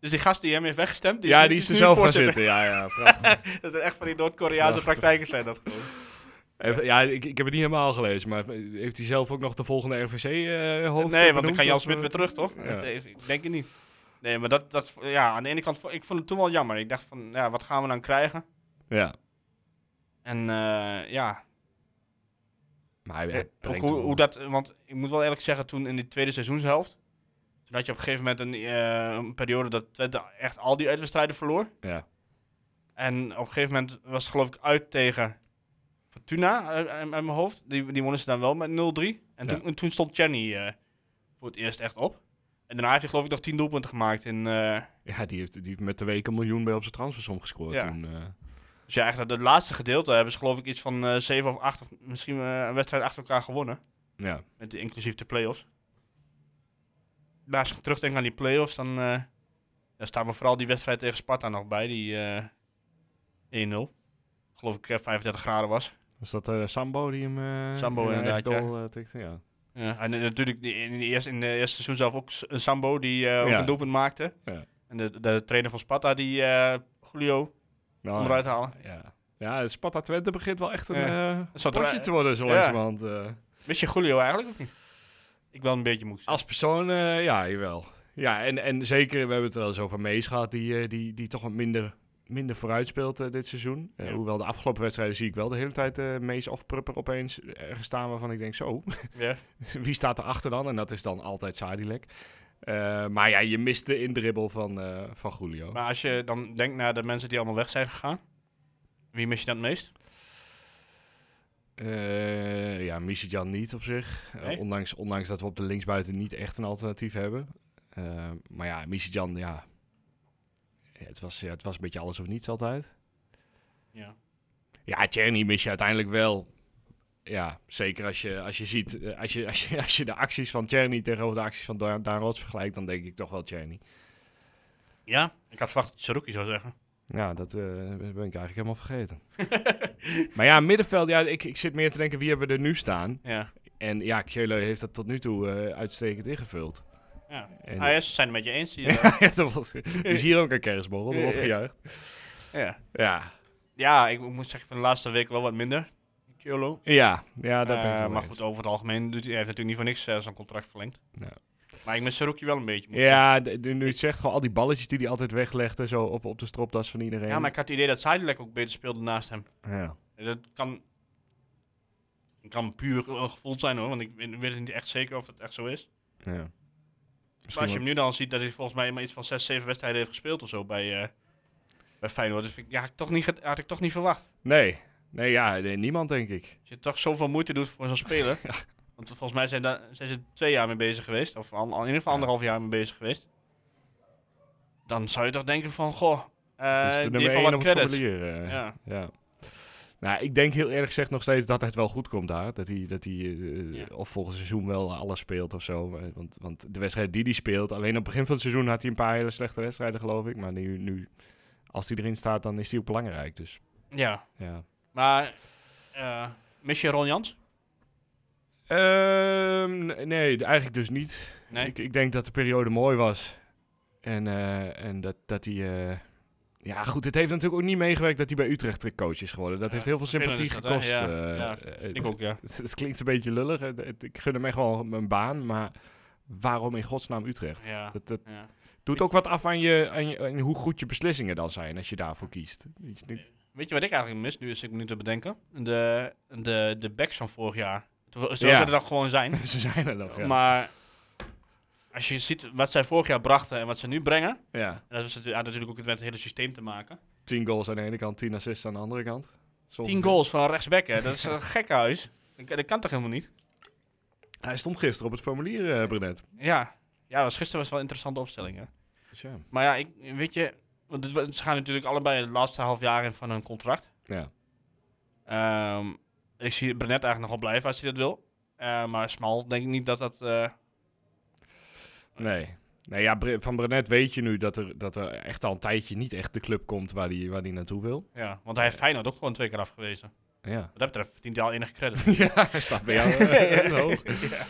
Speaker 4: Dus die gast die hem heeft weggestemd, die
Speaker 1: ja, die is er
Speaker 4: nu
Speaker 1: zelf gaan
Speaker 4: voorzitter.
Speaker 1: zitten. Ja, ja, prachtig.
Speaker 4: Dat zijn echt van die Noord-Koreaanse
Speaker 1: Prachtig.
Speaker 4: praktijken zijn dat gewoon.
Speaker 1: Even- ja, ik, ik heb het niet helemaal gelezen, maar heeft hij zelf ook nog de volgende RVC-hoofd
Speaker 4: nee, want dan kan Jan
Speaker 1: eh?
Speaker 4: Smit weer terug, toch?
Speaker 1: Ja.
Speaker 4: Ik- Ik denk het niet. Nee, maar dat, dat, ja, aan de ene kant, vo- ik vond het toen wel jammer. Ik dacht van, ja, wat gaan we dan krijgen?
Speaker 1: Ja,
Speaker 4: En eh, ja,
Speaker 1: maar hij, hij
Speaker 4: ook
Speaker 1: brengt
Speaker 4: hoe,
Speaker 1: hem-
Speaker 4: hoe dat, want ik moet wel eerlijk zeggen, toen in die tweede seizoenshelft, toen had je op een gegeven moment een, eh, een periode dat Twente echt al die uitwedstrijden verloor.
Speaker 1: Ja.
Speaker 4: En op een gegeven moment was het geloof ik uit tegen Fortuna uit, uit mijn hoofd. Die, die wonnen ze dan wel met 0-3. En
Speaker 1: Ja.
Speaker 4: toen, toen stond Chenny eh, voor het eerst echt op. En daarna heeft hij geloof ik nog 10 doelpunten gemaakt. In, eh,
Speaker 1: Ja, die heeft, die heeft met de week een miljoen bij op zijn transfersom gescoord
Speaker 4: Ja.
Speaker 1: toen. eh.
Speaker 4: dus ja, echt dat het laatste gedeelte hebben ze geloof ik iets van eh 7 of 8, of misschien eh, een wedstrijd achter elkaar gewonnen.
Speaker 1: ja.
Speaker 4: Met de, inclusief de play-offs. Maar als ik terugdenk aan die play-offs, dan eh, daar staat me vooral die wedstrijd tegen Sparta nog bij. Die eh, 1-0. Geloof ik eh, 35 graden was.
Speaker 1: Was dat eh, Sambo die hem... eh,
Speaker 4: Sambo
Speaker 1: in een
Speaker 4: inderdaad,
Speaker 1: eigen goal, eh, tikte? ja.
Speaker 4: Ja, en eh, natuurlijk die- in, de eerste, in de eerste seizoen zelf ook S- eh, Sambo, die eh, ook
Speaker 1: Ja.
Speaker 4: een doelpunt maakte.
Speaker 1: Ja.
Speaker 4: En de, de trainer van Sparta, die eh Julio,
Speaker 1: Nou,
Speaker 4: onderuit halen.
Speaker 1: Ja. Ja, Sparta Twente begint wel echt een
Speaker 4: Ja.
Speaker 1: eh,
Speaker 4: Dat zou
Speaker 1: potje
Speaker 4: toch-
Speaker 1: te worden, zo
Speaker 4: Ja.
Speaker 1: langzamerhand. eh.
Speaker 4: Wist je Julio eigenlijk of niet? Ik wel een beetje moest.
Speaker 1: Als persoon, eh, ja, jawel. Ja, en, en zeker, we hebben het wel eens over Mees gehad, die, eh, die, die toch wat minder, minder vooruit speelt eh, dit seizoen. Eh,
Speaker 4: Ja.
Speaker 1: Hoewel de afgelopen wedstrijden zie ik wel de hele tijd eh, Mees of Prupper opeens ergens staan waarvan ik denk, zo,
Speaker 4: Ja.
Speaker 1: wie staat erachter dan? En dat is dan altijd Sadilek. Eh, maar ja, je mist de indribbel van, eh, van Julio.
Speaker 4: Maar als je dan denkt naar de mensen die allemaal weg zijn gegaan, wie mis je dan het meest?
Speaker 1: Eh, ja, Jan niet op zich. Eh,
Speaker 4: Nee?
Speaker 1: ondanks, ondanks dat we op de linksbuiten niet echt een alternatief hebben. Eh, maar ja, Jan, ja. Ja, Het was, ja, het was een beetje alles of niets altijd.
Speaker 4: Ja.
Speaker 1: Ja, Tjerny mis je uiteindelijk wel. Ja, zeker als je, als je ziet, eh, als je, als je, als je de acties van Tjerny tegenover de acties van Daan Daan Rots vergelijkt, dan denk ik toch wel Tjerny.
Speaker 4: Ja, ik had verwacht dat Saruki zou zeggen.
Speaker 1: Ja, dat eh, ben ik eigenlijk helemaal vergeten. maar ja, middenveld, ja, ik, ik zit meer te denken wie hebben we er nu staan.
Speaker 4: Ja.
Speaker 1: En ja, Kjolo heeft dat tot nu toe eh, uitstekend ingevuld.
Speaker 4: ja.
Speaker 1: En-
Speaker 4: Ah, ja, ze zijn het met je eens. Hier, eh.
Speaker 1: ja, dat was, is hier ook een kerstborrel, dat wordt gejuicht.
Speaker 4: ja.
Speaker 1: Ja,
Speaker 4: ja, ik moet zeggen, van de laatste week wel wat minder. Kyolo.
Speaker 1: ja, ja daar ben ik
Speaker 4: Eh,
Speaker 1: het wel
Speaker 4: maar
Speaker 1: eens.
Speaker 4: goed, over het algemeen doet hij, hij heeft natuurlijk niet voor niks eh, zijn contract verlengd.
Speaker 1: Ja.
Speaker 4: Maar ik mis Saruki wel een beetje. moet ik
Speaker 1: Ja, d- nu je het zegt, gewoon al die balletjes die hij altijd weglegde zo op, op de stropdas van iedereen.
Speaker 4: zeggen. ja, maar ik had het idee dat Zeidelek ook beter speelde naast hem.
Speaker 1: Ja.
Speaker 4: En Dat kan, dat kan puur een gevoel zijn hoor, want ik weet- weet het niet echt zeker of het echt zo is.
Speaker 1: Ja.
Speaker 4: Maar
Speaker 1: Misschien
Speaker 4: als je hem nu dan ziet, dat hij volgens mij maar iets van 6, 7 wedstrijden heeft gespeeld of zo bij, eh bij Feyenoord. Dus vind ik, ja, had ik toch niet, ge- had ik toch niet verwacht.
Speaker 1: wel- Nee, nee, ja, nee, niemand denk ik.
Speaker 4: Als je toch zoveel moeite doet voor zo'n speler. Want volgens mij zijn, daar, zijn ze er twee jaar mee bezig geweest. Of an- in ieder geval
Speaker 1: Ja.
Speaker 4: anderhalf jaar mee bezig geweest. Dan zou je toch denken van, goh, eh
Speaker 1: het is de
Speaker 4: die heeft
Speaker 1: nummer
Speaker 4: wel
Speaker 1: 1
Speaker 4: wat
Speaker 1: op het
Speaker 4: credits.
Speaker 1: formulier. eh.
Speaker 4: Ja.
Speaker 1: Ja. Nou, ik denk heel erg gezegd nog steeds dat het wel goed komt daar. Dat hij, dat hij eh,
Speaker 4: Ja.
Speaker 1: of volgend seizoen wel alles speelt of zo. Eh, Want, want de wedstrijd die hij speelt, alleen op het begin van het seizoen had hij een paar hele slechte wedstrijden, geloof ik. Maar nu, nu als hij erin staat, dan is hij ook belangrijk. Dus
Speaker 4: Ja.
Speaker 1: ja.
Speaker 4: Maar eh mis je Ron Jans?
Speaker 1: Ehm, n- nee, d- eigenlijk dus niet.
Speaker 4: Nee?
Speaker 1: Ik, ik denk dat de periode mooi was. En, eh, en dat, dat hij... eh, ja, goed, het heeft natuurlijk ook niet meegewerkt dat hij bij Utrecht coach is geworden. Dat
Speaker 4: Ja,
Speaker 1: heeft heel veel
Speaker 4: vervelend
Speaker 1: sympathie
Speaker 4: is dat, hè?
Speaker 1: gekost.
Speaker 4: Ja,
Speaker 1: eh,
Speaker 4: ja,
Speaker 1: eh,
Speaker 4: Ik ook, ja.
Speaker 1: Het, het klinkt een beetje lullig. Het- het- ik gun hem echt wel mijn baan, maar waarom in godsnaam Utrecht?
Speaker 4: Ja.
Speaker 1: Dat, dat
Speaker 4: ja.
Speaker 1: doet ook wat af aan, je, aan, je, aan hoe goed je beslissingen dan zijn als je daarvoor kiest. Weet je, ik-
Speaker 4: Weet je wat ik eigenlijk mis? Nu is ik me nu te bedenken. De, de, de backs van vorig jaar. Zo zou
Speaker 1: Ja.
Speaker 4: er dan gewoon zijn.
Speaker 1: Ze zijn er nog, ja.
Speaker 4: Maar als je ziet wat zij vorig jaar brachten en wat ze nu brengen.
Speaker 1: ja.
Speaker 4: En dat is natuurlijk, had natuurlijk ook met het hele systeem te maken.
Speaker 1: Tien goals aan de ene kant, tien assists aan de andere kant. Soms-
Speaker 4: 10 goals van een rechtsback, hè? Dat is een gek huis. Dat, kan- dat kan toch helemaal niet?
Speaker 1: Hij stond gisteren op het formulier, eh Brenet.
Speaker 4: Ja. Ja, was gisteren was wel een interessante opstelling, hè?
Speaker 1: Dus ja.
Speaker 4: Maar ja, ik, weet je... Want het wa- ze gaan natuurlijk allebei het laatste half jaar in van hun contract.
Speaker 1: Ja.
Speaker 4: Ehm, ik zie Brenet eigenlijk nog wel blijven als hij dat wil. Eh, maar Smal denk ik niet dat dat... eh,
Speaker 1: Nee. Nee, ja, Bre- van Brenet weet je nu dat er, dat er echt al een tijdje niet echt de club komt waar hij waar die naartoe wil.
Speaker 4: ja, want hij heeft Feyenoord ook gewoon twee keer afgewezen.
Speaker 1: Ja.
Speaker 4: Wat dat betreft verdient hij al enige credit.
Speaker 1: ja, hij staat bij jou eh, hoog.
Speaker 4: Ja.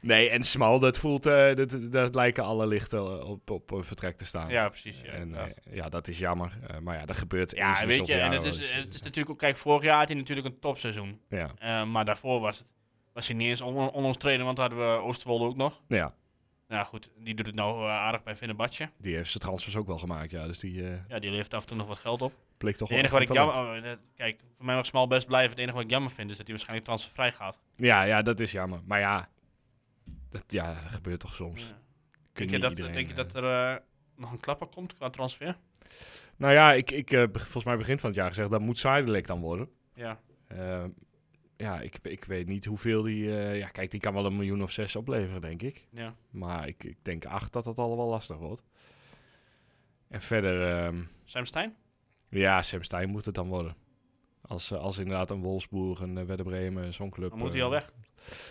Speaker 1: Nee, en Smal, dat voelt, eh dat, dat lijken alle lichten eh, op, op eh, vertrek te staan.
Speaker 4: ja, precies. Ja,
Speaker 1: En
Speaker 4: ja.
Speaker 1: eh, ja, dat is jammer. Eh, maar ja, dat gebeurt
Speaker 4: Ja,
Speaker 1: eens in
Speaker 4: weet je,
Speaker 1: zoveel
Speaker 4: en
Speaker 1: jaar
Speaker 4: het
Speaker 1: wel
Speaker 4: is,
Speaker 1: eens.
Speaker 4: het is natuurlijk ook, kijk, vorig jaar had hij natuurlijk een topseizoen.
Speaker 1: Ja,
Speaker 4: Eh, maar daarvoor was, het, was hij niet eens on, on ons trainen, want daar hadden we Oosterwolde ook nog.
Speaker 1: ja,
Speaker 4: Nou goed, die doet het nou eh, aardig bij Vinnenbadje.
Speaker 1: die heeft zijn transfers ook wel gemaakt. Ja, dus die eh
Speaker 4: Ja, die levert af en toe nog wat geld op.
Speaker 1: blikt toch
Speaker 4: Het
Speaker 1: wel
Speaker 4: enige
Speaker 1: echt
Speaker 4: wat ik
Speaker 1: een talent.
Speaker 4: jammer, oh, eh, kijk, voor mij mag Smal best blijven. Het enige wat ik jammer vind is dat hij waarschijnlijk transfervrij gaat.
Speaker 1: Ja, ja, dat is jammer. Maar ja, dat, ja, dat gebeurt toch soms.
Speaker 4: Ja.
Speaker 1: Kun
Speaker 4: Denk, je
Speaker 1: niet
Speaker 4: dat,
Speaker 1: iedereen,
Speaker 4: denk je
Speaker 1: eh,
Speaker 4: dat er eh, nog een klapper komt qua transfer?
Speaker 1: Nou ja, ik, ik eh, beg- volgens mij begin van het jaar gezegd, dat moet Zuidelijk dan worden.
Speaker 4: Ja,
Speaker 1: Eh, ja, ik, ik weet niet hoeveel die... eh, ja, kijk, die kan wel een miljoen of zes opleveren, denk ik.
Speaker 4: ja.
Speaker 1: Maar ik, ik denk acht dat dat allemaal lastig wordt. En verder, ehm,
Speaker 4: Sam Stein?
Speaker 1: ja, Sam Stein moet het dan worden. Als, eh, als inderdaad een Wolfsburg, een uh, Werder Bremen, zo'n club...
Speaker 4: Dan moet hij
Speaker 1: eh,
Speaker 4: al weg.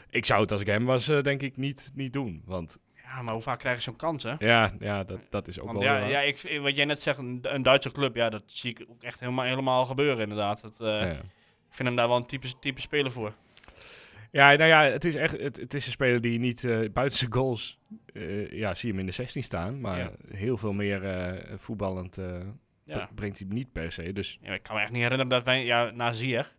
Speaker 1: Ik zou het als ik hem was, eh, denk ik, niet, niet doen. Want
Speaker 4: Ja, maar hoe vaak krijg je zo'n kans, hè?
Speaker 1: ja, ja dat, dat is ook
Speaker 4: Want
Speaker 1: wel...
Speaker 4: ja,
Speaker 1: waar.
Speaker 4: ja ik, wat jij net zegt, een, een Duitse club, ja, dat zie ik ook echt helemaal, helemaal gebeuren, inderdaad. Dat, eh,
Speaker 1: Ja.
Speaker 4: Ik vind hem daar wel een type, type speler voor.
Speaker 1: Ja, nou ja, het is echt het, het is een speler die je niet eh buiten zijn goals. eh, ja, zie je hem in de 16 staan. Maar
Speaker 4: Ja.
Speaker 1: heel veel meer eh, voetballend eh,
Speaker 4: Ja.
Speaker 1: be- brengt hij hem niet per se. Dus
Speaker 4: Ja, ik kan me echt niet herinneren dat wij, ja, na Ziyech, ik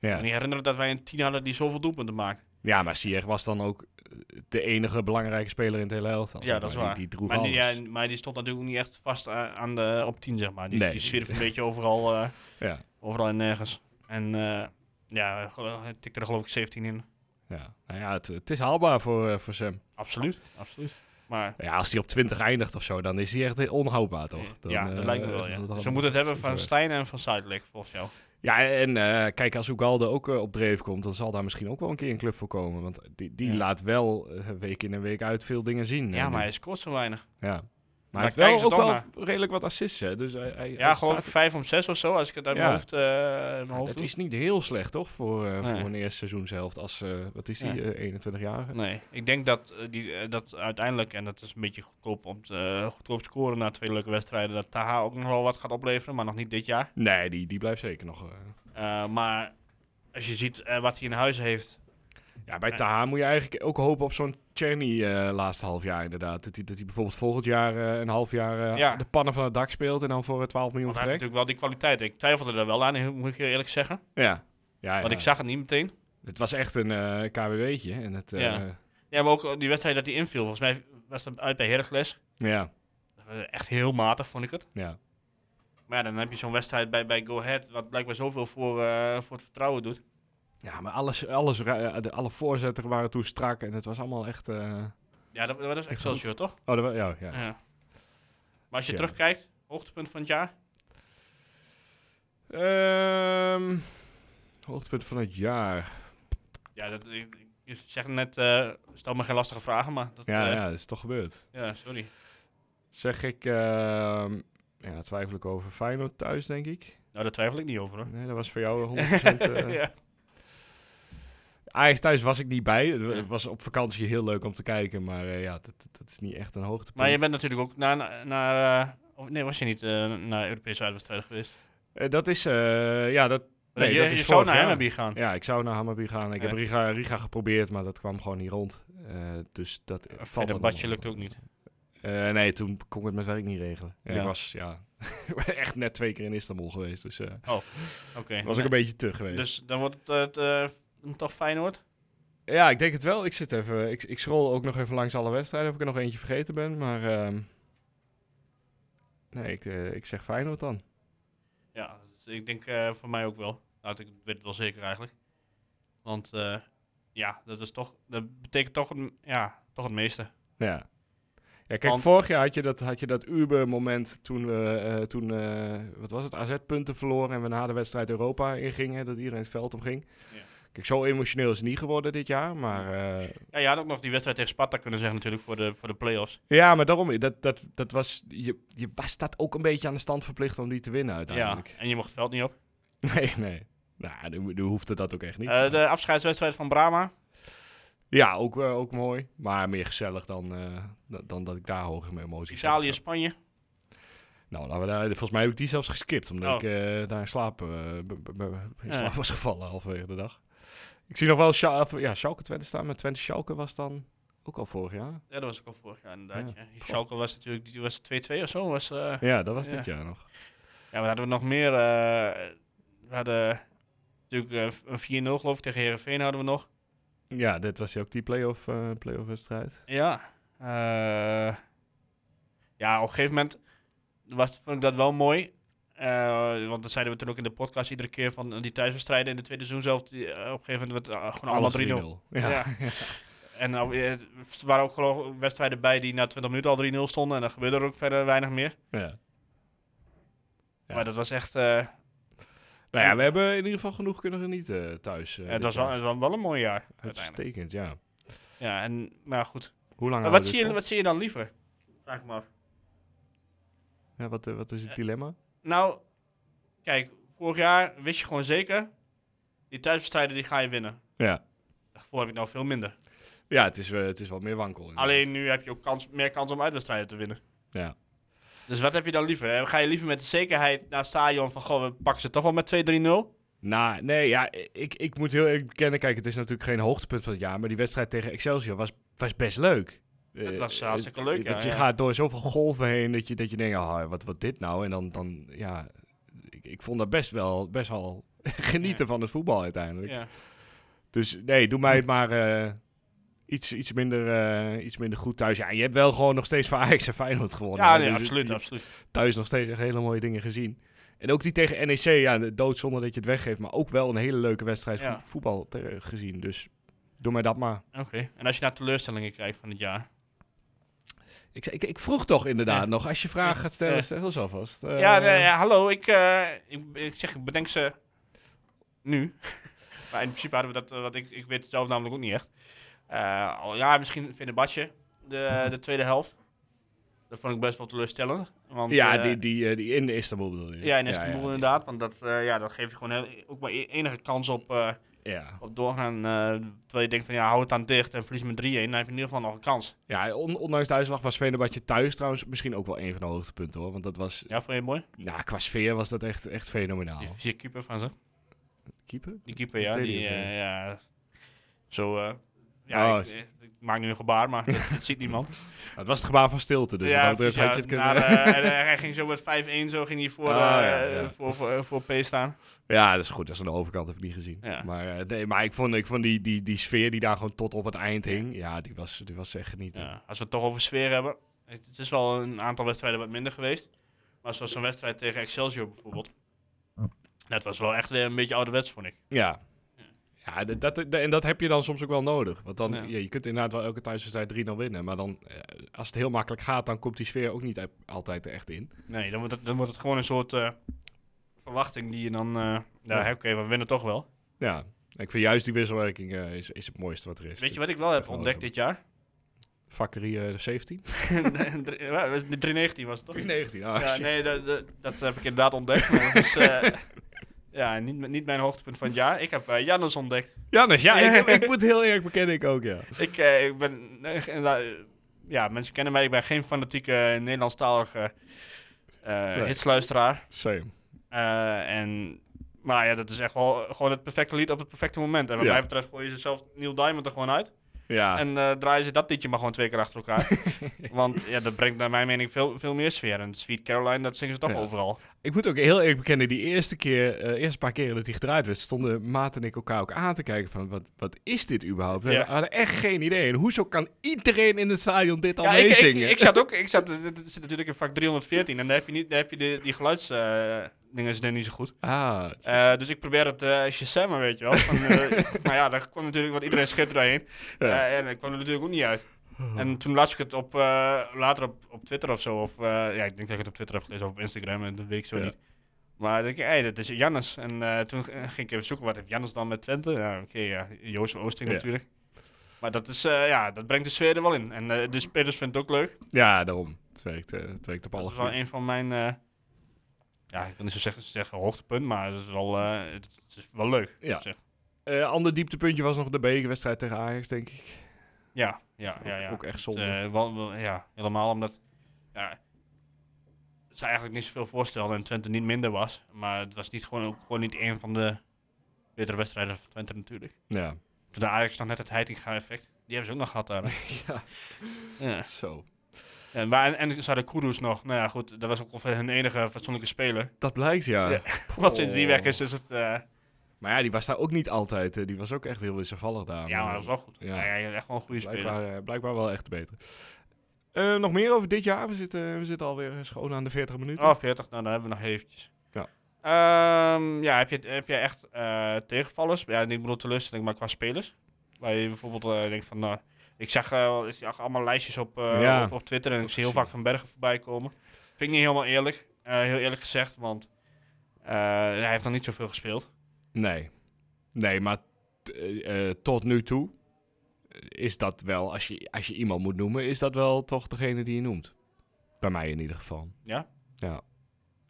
Speaker 4: kan
Speaker 1: ja.
Speaker 4: me niet herinneren dat wij een tien hadden die zoveel doelpunten maakt.
Speaker 1: ja, maar Sier was dan ook eh, de enige belangrijke speler in het hele elftal.
Speaker 4: Ja,
Speaker 1: zeg
Speaker 4: dat is
Speaker 1: maar.
Speaker 4: waar.
Speaker 1: Die, die droeg
Speaker 4: Maar die,
Speaker 1: alles.
Speaker 4: ja, maar die stond natuurlijk ook niet echt vast aan, aan de, op tien, zeg maar. Die,
Speaker 1: Nee.
Speaker 4: die zwierf een beetje overal, eh,
Speaker 1: Ja,
Speaker 4: overal en nergens. En eh ja, gelo- hij tikte er geloof ik 17 in.
Speaker 1: ja. Nou ja, het, het is haalbaar voor, eh, voor Sam.
Speaker 4: Absoluut, absoluut. Maar
Speaker 1: Ja, als hij op 20 eindigt of zo, dan is hij echt eh, onhoudbaar, toch? Dan,
Speaker 4: ja, dat
Speaker 1: eh,
Speaker 4: lijkt me wel,
Speaker 1: is
Speaker 4: ja.
Speaker 1: dat
Speaker 4: Dus we
Speaker 1: allemaal
Speaker 4: moeten het hebben
Speaker 1: zo
Speaker 4: van
Speaker 1: weg.
Speaker 4: Stijn en van Zuidelijk, volgens jou.
Speaker 1: Ja, en eh, kijk, als Ugalde ook eh, op dreef komt, dan zal daar misschien ook wel een keer een club voor komen. Want die, die
Speaker 4: Ja.
Speaker 1: laat wel eh, week in en week uit veel dingen zien.
Speaker 4: Ja,
Speaker 1: eh, nu.
Speaker 4: maar hij scoort zo weinig.
Speaker 1: Ja. Maar hij
Speaker 4: Daar
Speaker 1: heeft
Speaker 4: kijken
Speaker 1: wel
Speaker 4: ze
Speaker 1: ook
Speaker 4: toch
Speaker 1: wel
Speaker 4: naar.
Speaker 1: redelijk wat assists, hè. Dus hij, hij,
Speaker 4: Ja,
Speaker 1: hij
Speaker 4: gewoon
Speaker 1: staat-
Speaker 4: 5 om 6 of zo, als ik het uit
Speaker 1: Ja.
Speaker 4: mijn hoofd, eh uit mijn hoofd
Speaker 1: Het
Speaker 4: doe.
Speaker 1: is niet heel slecht, toch? Voor, eh,
Speaker 4: Nee.
Speaker 1: voor een eerste seizoen zelf. Als, eh, wat is hij,
Speaker 4: Ja.
Speaker 1: 21 jaar?
Speaker 4: Nee, ik denk dat, eh, die, eh, dat uiteindelijk, en dat is een beetje goedkoop om te, eh, goedkoop te scoren na twee leuke wedstrijden, dat Taha ook nog wel wat gaat opleveren, maar nog niet dit jaar.
Speaker 1: Nee, die, die blijft zeker nog. eh.
Speaker 4: Eh, maar als je ziet eh, wat hij in huis heeft,
Speaker 1: Ja, bij
Speaker 4: Ja.
Speaker 1: Taha moet je eigenlijk ook hopen op zo'n Czerny eh, laatste half jaar inderdaad. Dat hij dat hij bijvoorbeeld volgend jaar eh, een half jaar eh,
Speaker 4: Ja.
Speaker 1: de pannen van het dak speelt en dan voor eh, 12 miljoen
Speaker 4: want hij heeft
Speaker 1: vertrekt.
Speaker 4: natuurlijk wel die kwaliteit. Ik twijfelde er wel aan, heel- moet ik je eerlijk zeggen,
Speaker 1: Ja. Ja,
Speaker 4: want
Speaker 1: ja.
Speaker 4: ik zag het niet meteen.
Speaker 1: Het was echt een eh KWW'tje. En het, eh, ja.
Speaker 4: Ja. Ja, maar ook eh, die wedstrijd dat hij inviel, volgens mij was dat uit bij Heracles.
Speaker 1: ja,
Speaker 4: Eh, Echt heel matig vond ik het.
Speaker 1: ja,
Speaker 4: Maar ja, dan heb je zo'n wedstrijd bij, bij Go Ahead, wat blijkbaar zoveel voor, eh, voor het vertrouwen doet.
Speaker 1: maar alles, alles, ra- eh, de- alle voorzetten waren toen strak en het was allemaal echt... eh,
Speaker 4: Ja, dat, dat is Excelsior, toch?
Speaker 1: Oh, dat wa- ja, ja.
Speaker 4: Ja. Maar als je
Speaker 1: Ja.
Speaker 4: terugkijkt, hoogtepunt van het jaar?
Speaker 1: Ehm, hoogtepunt van het jaar.
Speaker 4: Ja, dat, ik, ik- je zegt net, eh, stel me geen lastige vragen, maar dat,
Speaker 1: Ja,
Speaker 4: eh,
Speaker 1: ja, dat is toch gebeurd.
Speaker 4: ja, sorry.
Speaker 1: Zeg ik, ehm ja, twijfel ik over Feyenoord thuis, denk ik.
Speaker 4: Nou, daar twijfel ik niet over. Hoor.
Speaker 1: Nee, dat was voor jou eh, 100%. eh.
Speaker 4: ja.
Speaker 1: Ajax thuis was ik niet bij. Het was op vakantie heel leuk om te kijken. Maar eh, ja, dat, dat is niet echt een hoogtepunt.
Speaker 4: Maar je bent natuurlijk ook naar... naar, eh, of, nee, was je niet eh, naar Europese uitwedstrijden geweest?
Speaker 1: Eh, dat is... eh, ja, dat, nee,
Speaker 4: je
Speaker 1: dat
Speaker 4: je
Speaker 1: is
Speaker 4: zou
Speaker 1: vorig
Speaker 4: naar
Speaker 1: jaar.
Speaker 4: Hammerby gaan.
Speaker 1: Ja, ik zou naar Hammerby gaan. Ik heb
Speaker 4: Ja.
Speaker 1: Riga, Riga geprobeerd, maar dat kwam gewoon niet rond. Eh, dus dat eh, valt
Speaker 4: dat
Speaker 1: dan
Speaker 4: badje
Speaker 1: nog.
Speaker 4: lukt ook niet.
Speaker 1: Eh, nee, toen kon ik het met werk niet regelen. En
Speaker 4: Ja.
Speaker 1: ik was ja, echt net twee keer in Istanbul geweest. Dus eh
Speaker 4: Oké.
Speaker 1: was ook een beetje te geweest.
Speaker 4: eh, Dus dan wordt het, eh, het eh, toch Feyenoord?
Speaker 1: Ja, ik denk het wel. Ik zit even. Ik, ik scroll ook nog even langs alle wedstrijden. Of ik er nog eentje vergeten ben. Maar. ehm, nee, ik, eh, ik zeg Feyenoord dan.
Speaker 4: Ja, dus ik denk eh, voor mij ook wel. Nou, ik weet het wel zeker eigenlijk. Want eh, ja, dat, is toch, dat betekent toch, een, ja, toch het meeste.
Speaker 1: Ja. Ja, kijk,
Speaker 4: Want-
Speaker 1: vorig jaar had je dat, had je dat Uber-moment toen we, eh, toen, eh, wat was het, AZ-punten verloren en we na de wedstrijd Europa ingingen, dat iedereen het veld op ging.
Speaker 4: Ja.
Speaker 1: Kijk, zo emotioneel is het niet geworden dit jaar, maar eh,
Speaker 4: Ja, je had ook nog die wedstrijd tegen Sparta kunnen zeggen natuurlijk voor de, voor de play-offs.
Speaker 1: ja, maar daarom, dat, dat, dat was, je, je was dat ook een beetje aan de stand verplicht om die te winnen uiteindelijk.
Speaker 4: Ja, en je mocht het veld niet op.
Speaker 1: Nee, nee. Nou, nu, nu hoefde dat ook echt niet.
Speaker 4: Eh, de afscheidswedstrijd van Brama.
Speaker 1: Ja, ook, eh, ook mooi. Maar meer gezellig dan, eh, da- dan dat ik daar hoog in mijn emoties zat of
Speaker 4: Italië,
Speaker 1: zo.
Speaker 4: Spanje.
Speaker 1: Nou, laten we daar, volgens mij heb ik die zelfs geskipt, omdat
Speaker 4: Oh.
Speaker 1: ik eh, daar in slaap, eh, b- b- b- in
Speaker 4: Ja.
Speaker 1: slaap was gevallen halverwege de dag. Ik zie nog wel Scha- of, ja, Schalke Twente staan, maar Twente Schalke was dan ook al vorig jaar.
Speaker 4: Ja, dat was ook al vorig jaar inderdaad.
Speaker 1: Ja.
Speaker 4: Ja. Schalke was natuurlijk die was 2-2 of zo. Was, eh,
Speaker 1: Ja, dat was
Speaker 4: Ja.
Speaker 1: dit jaar nog.
Speaker 4: Ja, we hadden we nog meer. eh, we hadden natuurlijk eh, een 4-0 geloof ik tegen Herenveen hadden we nog.
Speaker 1: Ja, dit was ook die play-off, eh, play-off wedstrijd.
Speaker 4: Ja. eh, ja, op een gegeven moment was, vond ik dat wel mooi. Eh, want dat zeiden we toen ook in de podcast iedere keer van eh, die thuiswedstrijden in de tweede seizoen zelf. Die, eh, op een gegeven moment werd, eh, gewoon
Speaker 1: Alles
Speaker 4: allemaal 3-0.
Speaker 1: 3-0. Ja.
Speaker 4: Ja. En nou, eh, er waren ook geloof ik wedstrijden bij die na 20 minuten al 3-0 stonden. En dan gebeurde er ook verder weinig meer.
Speaker 1: Ja. Ja.
Speaker 4: Maar dat was echt... eh,
Speaker 1: Nou ja, we hebben in ieder geval genoeg kunnen genieten eh, thuis. eh,
Speaker 4: het,
Speaker 1: dit
Speaker 4: was wel,
Speaker 1: jaar.
Speaker 4: het was wel een mooi jaar. Uiteindelijk.
Speaker 1: uitstekend, ja.
Speaker 4: Ja, en, maar goed.
Speaker 1: Hoe lang houden
Speaker 4: Maar wat,
Speaker 1: we
Speaker 4: zie je,
Speaker 1: dit
Speaker 4: wat zie je dan liever? Vraag ik me af.
Speaker 1: vol? Ja, wat, eh, wat is het dilemma?
Speaker 4: Nou, kijk, vorig jaar wist je gewoon zeker, die thuiswedstrijden die ga je winnen.
Speaker 1: Ja.
Speaker 4: Daarvoor heb ik nou veel minder.
Speaker 1: Ja, het is, eh, het is wel meer wankel. inderdaad.
Speaker 4: Alleen nu heb je ook kans, meer kans om uitwedstrijden te winnen.
Speaker 1: Ja.
Speaker 4: Dus wat heb je dan liever? hè? Ga je liever met de zekerheid naar het stadion van, goh, we pakken ze toch wel met 2-3-0?
Speaker 1: Nou, nee, ja, ik, ik moet heel eerlijk bekennen. Kijk, het is natuurlijk geen hoogtepunt van het jaar. Maar die wedstrijd tegen Excelsior was, was best leuk.
Speaker 4: Het
Speaker 1: Eh,
Speaker 4: was hartstikke leuk,
Speaker 1: eh,
Speaker 4: ja,
Speaker 1: Want je
Speaker 4: ja.
Speaker 1: gaat door zoveel golven heen dat je, dat je denkt, ah, wat, wat dit nou? En dan, dan ja, ik, ik vond dat best wel, best wel genieten van het voetbal uiteindelijk.
Speaker 4: Ja.
Speaker 1: Dus nee, doe mij het maar eh, iets, iets, minder, eh, iets minder goed thuis. Ja, je hebt wel gewoon nog steeds van Ajax en Feyenoord gewonnen.
Speaker 4: Ja,
Speaker 1: hè,
Speaker 4: nee,
Speaker 1: dus het-
Speaker 4: absoluut,
Speaker 1: je-
Speaker 4: absoluut.
Speaker 1: thuis nog steeds echt hele mooie dingen gezien. En ook die tegen NEC, ja, de dood zonder dat je het weggeeft. Maar ook wel een hele leuke wedstrijd
Speaker 4: Ja.
Speaker 1: vo- voetbal te- gezien. Dus doe mij dat maar.
Speaker 4: Oké. En als je naar teleurstellingen kijkt van het jaar?
Speaker 1: Ik, ik, ik vroeg toch inderdaad
Speaker 4: Ja.
Speaker 1: nog, als je vragen
Speaker 4: Ja.
Speaker 1: gaat stellen,
Speaker 4: Ja.
Speaker 1: stel ze alvast. Eh,
Speaker 4: ja, nee, ja, hallo, ik, eh, ik, ik zeg, ik bedenk ze nu. maar in principe hadden we dat, eh, want ik, ik weet het zelf namelijk ook niet echt. Eh, al, ja, misschien Fenerbahce, de, de tweede helft. Dat vond ik best wel teleurstellend. Want,
Speaker 1: Ja,
Speaker 4: eh,
Speaker 1: die, die, eh, die in Istanbul bedoel je?
Speaker 4: Ja, in Istanbul
Speaker 1: ja, die-
Speaker 4: inderdaad, want dat, eh, ja, dat geeft je gewoon heel- ook maar e- enige kans op, eh,
Speaker 1: Ja,
Speaker 4: op doorgaan. eh, terwijl je denkt van ja, hou het aan dicht en verlies met 3-1, dan heb je in ieder geval nog een kans.
Speaker 1: ja on- ondanks de uitslag was Venerbahce thuis trouwens misschien ook wel een van de hoogtepunten hoor. Want dat was,
Speaker 4: Ja, vond je het mooi?
Speaker 1: nou, qua sfeer was dat echt, echt fenomenaal.
Speaker 4: Die visie keeper van ze.
Speaker 1: Keeper?
Speaker 4: Die keeper, ja.
Speaker 1: Deed
Speaker 4: Die,
Speaker 1: hij ook,
Speaker 4: eh, ja. Zo, eh, ja,
Speaker 1: Oh,
Speaker 4: ik, eh, ik maak nu een gebaar, maar dat, dat ziet niemand.
Speaker 1: Nou, het was het gebaar van stilte, dus wat dat betreft
Speaker 4: precies,
Speaker 1: had je het kunnen...
Speaker 4: na de- en, eh, hij ging zo met 5-1, zo ging hij voor,
Speaker 1: Ah,
Speaker 4: eh,
Speaker 1: ja, ja.
Speaker 4: voor, eh, voor, voor P staan.
Speaker 1: Ja, dat is goed. Dat is aan de overkant, heb ik niet gezien.
Speaker 4: Ja.
Speaker 1: Maar, eh, nee, maar ik vond, ik vond die, die, die sfeer die daar gewoon tot op het eind hing, ja, die was, die was echt genieten.
Speaker 4: Ja, als we het toch over sfeer hebben. Het, het is wel een aantal wedstrijden wat minder geweest. Maar zoals een wedstrijd tegen Excelsior bijvoorbeeld. Dat was wel echt weer een beetje ouderwets, vond ik.
Speaker 1: Ja. Ja, d- dat, d- en dat heb je dan soms ook wel nodig. Want dan,
Speaker 4: Ja.
Speaker 1: ja. je kunt inderdaad wel elke thuiswedstrijd 3-0 winnen. Maar dan, eh, als het heel makkelijk gaat, dan komt die sfeer ook niet e- altijd er echt in.
Speaker 4: Nee, dan wordt het, dan wordt het gewoon een soort eh, verwachting die je dan... eh nou,
Speaker 1: Ja.
Speaker 4: oké, we winnen toch wel.
Speaker 1: Ja, ik vind juist die wisselwerking eh, is, is het mooiste wat er is.
Speaker 4: Weet je wat ik wel heb ontdekt dit jaar?
Speaker 1: Factory eh, 17?
Speaker 4: eh, Drie- ja, 319 was het toch?
Speaker 1: 19, ah,
Speaker 4: Ja,
Speaker 1: shit.
Speaker 4: nee, dat, dat, dat heb ik inderdaad ontdekt. maar dat is, eh, ja, niet, m- niet mijn hoogtepunt van het jaar. Ik heb eh Jannes ontdekt.
Speaker 1: Jannes, ja, ik, ik moet heel eerlijk bekennen, ik ook, ja.
Speaker 4: Ik, eh, ik ben... eh, inderdaad, eh, ja, mensen kennen mij. Ik ben geen fanatieke Nederlandstalige eh
Speaker 1: Nee.
Speaker 4: hitsluisteraar.
Speaker 1: Same.
Speaker 4: Eh, en, maar ja, dat is echt wel gewoon het perfecte lied op het perfecte moment. En wat
Speaker 1: Ja.
Speaker 4: mij betreft gooi je zelf Neil Diamond er gewoon uit.
Speaker 1: Ja,
Speaker 4: En eh, draaien ze dat liedje maar gewoon twee keer achter elkaar. Want ja, dat brengt naar mijn mening veel, veel meer sfeer. En Sweet Caroline, dat zingen ze toch
Speaker 1: Ja.
Speaker 4: overal.
Speaker 1: ik moet ook heel eerlijk bekennen, die eerste keer, eh eerste paar keren dat hij gedraaid werd, stonden Maat en ik elkaar ook aan te kijken van, wat, wat is dit überhaupt? We
Speaker 4: Ja.
Speaker 1: hadden echt geen idee. En hoezo kan iedereen in het stadion dit al
Speaker 4: Ja, ik, ik,
Speaker 1: meezingen?
Speaker 4: ik zat ook, ik zat, dit zit natuurlijk in vak 314 en daar heb je, niet, daar heb je de, die geluidsdingen dingen zijn niet zo goed.
Speaker 1: Ah,
Speaker 4: Eh, dus ik probeer het eh Shazam, weet je wel. Van, eh, maar ja, daar kwam natuurlijk, want iedereen schiet er doorheen.
Speaker 1: Ja. Oh.
Speaker 4: Eh, en ik kwam er natuurlijk ook niet uit. En toen las ik het op, eh, later op, op Twitter of zo. Of, eh, ja, ik denk dat ik het op Twitter heb gelezen of op Instagram. En dat weet ik zo
Speaker 1: Ja.
Speaker 4: niet. Maar dan denk ik, hé, dat is Jannes. En eh, toen eh, ging ik even zoeken, wat heeft Jannes dan met Twente? Ja, oké, ja, Joost van Oosting
Speaker 1: Ja.
Speaker 4: natuurlijk. Maar dat, is, eh, ja, dat brengt de sfeer er wel in. En eh, de spelers vinden het ook leuk.
Speaker 1: ja, daarom. Het werkt, eh, het werkt op alle
Speaker 4: Dat is wel
Speaker 1: gebieden.
Speaker 4: een van mijn, eh, ja, ik wil niet zo zeggen, zeggen hoogtepunt, maar het is wel, eh, het het is wel leuk.
Speaker 1: Ja.
Speaker 4: zeg.
Speaker 1: Eh, ander dieptepuntje was nog de bekerwedstrijd tegen Ajax, denk ik.
Speaker 4: Ja, ja, Ah, ja.
Speaker 1: Ook-
Speaker 4: ja.
Speaker 1: Ook echt zonde.
Speaker 4: Eh, wel- wel- ja, helemaal omdat ja, ze eigenlijk niet zoveel voorstelden en Twente niet minder was. Maar het was niet gewoon, ook gewoon niet een van de betere wedstrijden van Twente natuurlijk.
Speaker 1: ja.
Speaker 4: Toen de Ajax nog net het Heitinga-effect, die hebben ze ook nog gehad daar.
Speaker 1: ja,
Speaker 4: ja.
Speaker 1: zo.
Speaker 4: En, maar, en, en ze hadden Kudus nog. Nou ja, goed, dat was ook ongeveer hun enige fatsoenlijke speler.
Speaker 1: Dat blijkt, ja.
Speaker 4: Ja. Want sinds die weg
Speaker 1: Oh.
Speaker 4: is, is het... eh,
Speaker 1: Maar ja, die was daar ook niet altijd. eh, Die was ook echt heel wisselvallig daar.
Speaker 4: Ja, maar dat is wel goed.
Speaker 1: Ja.
Speaker 4: Ja. Ja, echt wel een goede speler.
Speaker 1: blijkbaar, eh, blijkbaar wel echt beter. Eh, nog meer over dit jaar. We zitten, we zitten alweer eh, schoon aan de 40 minuten.
Speaker 4: Oh, 40, nou, dan hebben we nog eventjes.
Speaker 1: Ja.
Speaker 4: Ehm, ja, heb je, heb je echt eh, tegenvallers? Ja, niet bedoel teleurstelling, maar qua spelers. Waar je bijvoorbeeld eh, denkt van, nou, ik zag, eh, ik zag allemaal lijstjes op, eh,
Speaker 1: Ja.
Speaker 4: op, op Twitter en ik zie heel
Speaker 1: gezien.
Speaker 4: vaak Van Bergen voorbij komen. Vind ik niet helemaal eerlijk, eh, heel eerlijk gezegd, want eh, hij heeft nog niet zoveel gespeeld.
Speaker 1: Nee. Nee, maar t- eh, eh, tot nu toe eh, is dat wel, als je, als je iemand moet noemen, is dat wel toch degene die je noemt. Bij mij in ieder geval.
Speaker 4: Ja?
Speaker 1: Ja.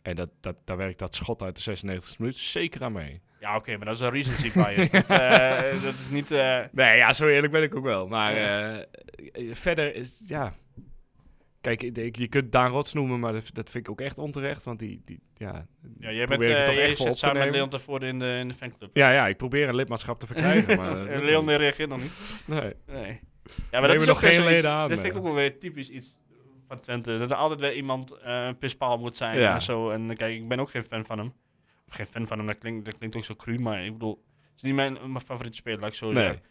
Speaker 1: En dat, dat, daar werkt dat schot uit de 96e minuut zeker aan mee.
Speaker 4: Ja, oké, maar dat is een recency bias. dat, eh, dat is niet... eh,
Speaker 1: Nee, ja, zo eerlijk ben ik ook wel. Maar
Speaker 4: Ja.
Speaker 1: eh, eh, verder is, ja... Kijk, ik denk, je kunt Daan Rots noemen, maar dat, dat vind ik ook echt onterecht. Want die, die ja...
Speaker 4: ja, jij bent
Speaker 1: probeer ik
Speaker 4: eh,
Speaker 1: er toch
Speaker 4: jij
Speaker 1: echt voor
Speaker 4: zit
Speaker 1: op te
Speaker 4: samen met
Speaker 1: nemen.
Speaker 4: Leon daarvoor in de, in de fanclub.
Speaker 1: Ja, ja, ik probeer een lidmaatschap te verkrijgen, maar... dat lukt
Speaker 4: En Leon
Speaker 1: niet.
Speaker 4: reageert nog niet.
Speaker 1: Nee.
Speaker 4: Nee. Ja,
Speaker 1: Nemen nog
Speaker 4: weer
Speaker 1: geen
Speaker 4: zoiets-
Speaker 1: leden aan,
Speaker 4: Dat vind ik
Speaker 1: eh.
Speaker 4: ook wel weer typisch iets van Twente. Dat er altijd weer iemand eh, een pispaal moet zijn
Speaker 1: Ja.
Speaker 4: en zo. En eh, kijk, ik ben ook geen fan van hem. Of geen fan van hem, dat klinkt, dat klinkt ook zo cru, maar ik bedoel... Het is niet mijn, mijn favoriete speler, laat ik zo
Speaker 1: Nee.
Speaker 4: zeggen.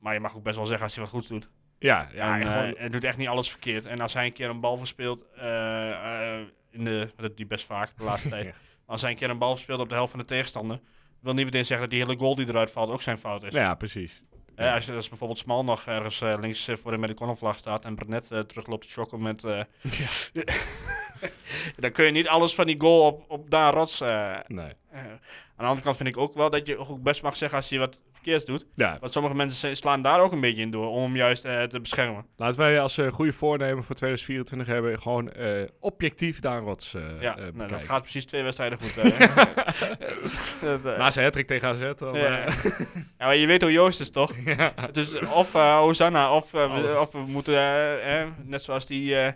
Speaker 4: Maar je mag ook best wel zeggen als hij wat goed doet.
Speaker 1: Ja, ja,
Speaker 4: Ja, en, eh,
Speaker 1: gewoon-
Speaker 4: hij doet echt niet alles verkeerd. En als hij een keer een bal verspeelt... eh, eh, in de, dat doet hij best vaak de laatste tijd.
Speaker 1: Ja.
Speaker 4: Als hij een keer een bal verspeelt op de helft van de tegenstander... wil niet meteen zeggen dat die hele goal die eruit valt ook zijn fout is.
Speaker 1: ja, precies.
Speaker 4: Eh, als, als bijvoorbeeld Smal nog ergens eh, links eh, voor de Mediconenvlag staat en Brenet eh, terug loopt te shocken met... eh,
Speaker 1: Ja.
Speaker 4: dan kun je niet alles van die goal op, op Daan Rots... eh, eh.
Speaker 1: Nee.
Speaker 4: aan de andere kant vind ik ook wel dat je ook best mag zeggen als hij wat verkeerds doet.
Speaker 1: Ja,
Speaker 4: Want sommige mensen s- slaan daar ook een beetje in door om hem juist eh, te beschermen.
Speaker 1: laten wij als eh, goede voornemen voor 2024 hebben gewoon eh, objectief Daan Rots eh,
Speaker 4: ja,
Speaker 1: eh,
Speaker 4: nou, dat
Speaker 1: bekijken.
Speaker 4: gaat precies twee wedstrijden goed. eh. Dat, eh,
Speaker 1: Na zijn hattrick tegen AZ dan...
Speaker 4: ja.
Speaker 1: eh,
Speaker 4: Ja, maar je weet hoe Joost is, toch?
Speaker 1: ja.
Speaker 4: Het is of eh Hosanna, of, eh,
Speaker 1: Alles.
Speaker 4: we, of we moeten, eh, eh, net zoals die eh,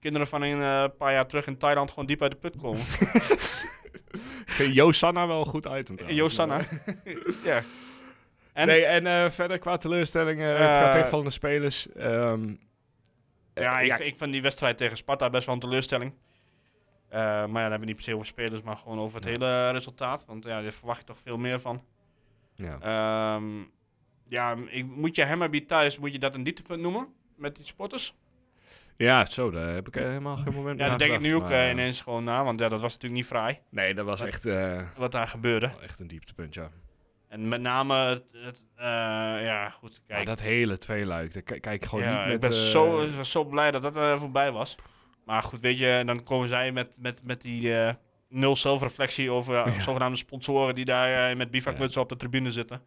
Speaker 4: kinderen van een eh, paar jaar terug in Thailand, gewoon diep uit de put komen.
Speaker 1: Ik vind Josanna wel een goed item trouwens.
Speaker 4: Eh, Josanna. ja. En,
Speaker 1: nee, en eh, verder qua teleurstellingen,
Speaker 4: Eh,
Speaker 1: qua tegenvallende spelers. ehm, eh,
Speaker 4: ja, ik, ik vind die wedstrijd tegen Sparta best wel een teleurstelling. Eh, maar ja, dan hebben we niet per se over spelers, maar gewoon over het hele resultaat. Want ja, daar verwacht je toch veel meer van.
Speaker 1: ja.
Speaker 4: Ehm, ja, ik, moet je Hammerby thuis, moet je dat een dieptepunt noemen? Met die sporters?
Speaker 1: Ja, zo, daar heb ik eh, helemaal geen moment
Speaker 4: Ja,
Speaker 1: meer
Speaker 4: dat denk ik nu ook
Speaker 1: nagedacht, maar,
Speaker 4: eh, ineens gewoon na, want ja, dat was natuurlijk niet fraai
Speaker 1: Nee, dat was echt, eh,
Speaker 4: wat daar gebeurde.
Speaker 1: wel echt een dieptepunt, ja.
Speaker 4: En met name het, het, eh, ja, goed,
Speaker 1: Maar
Speaker 4: kijk.
Speaker 1: dat hele tweeluik, daar ki- kijk ik gewoon
Speaker 4: ja,
Speaker 1: niet met...
Speaker 4: ik ben
Speaker 1: eh,
Speaker 4: zo, ik was zo blij dat dat er voorbij was. Maar goed, weet je, en dan komen zij met, met, met die eh, nul zelfreflectie over eh, zogenaamde sponsoren die daar eh, met bivakmutsen op de tribune zitten.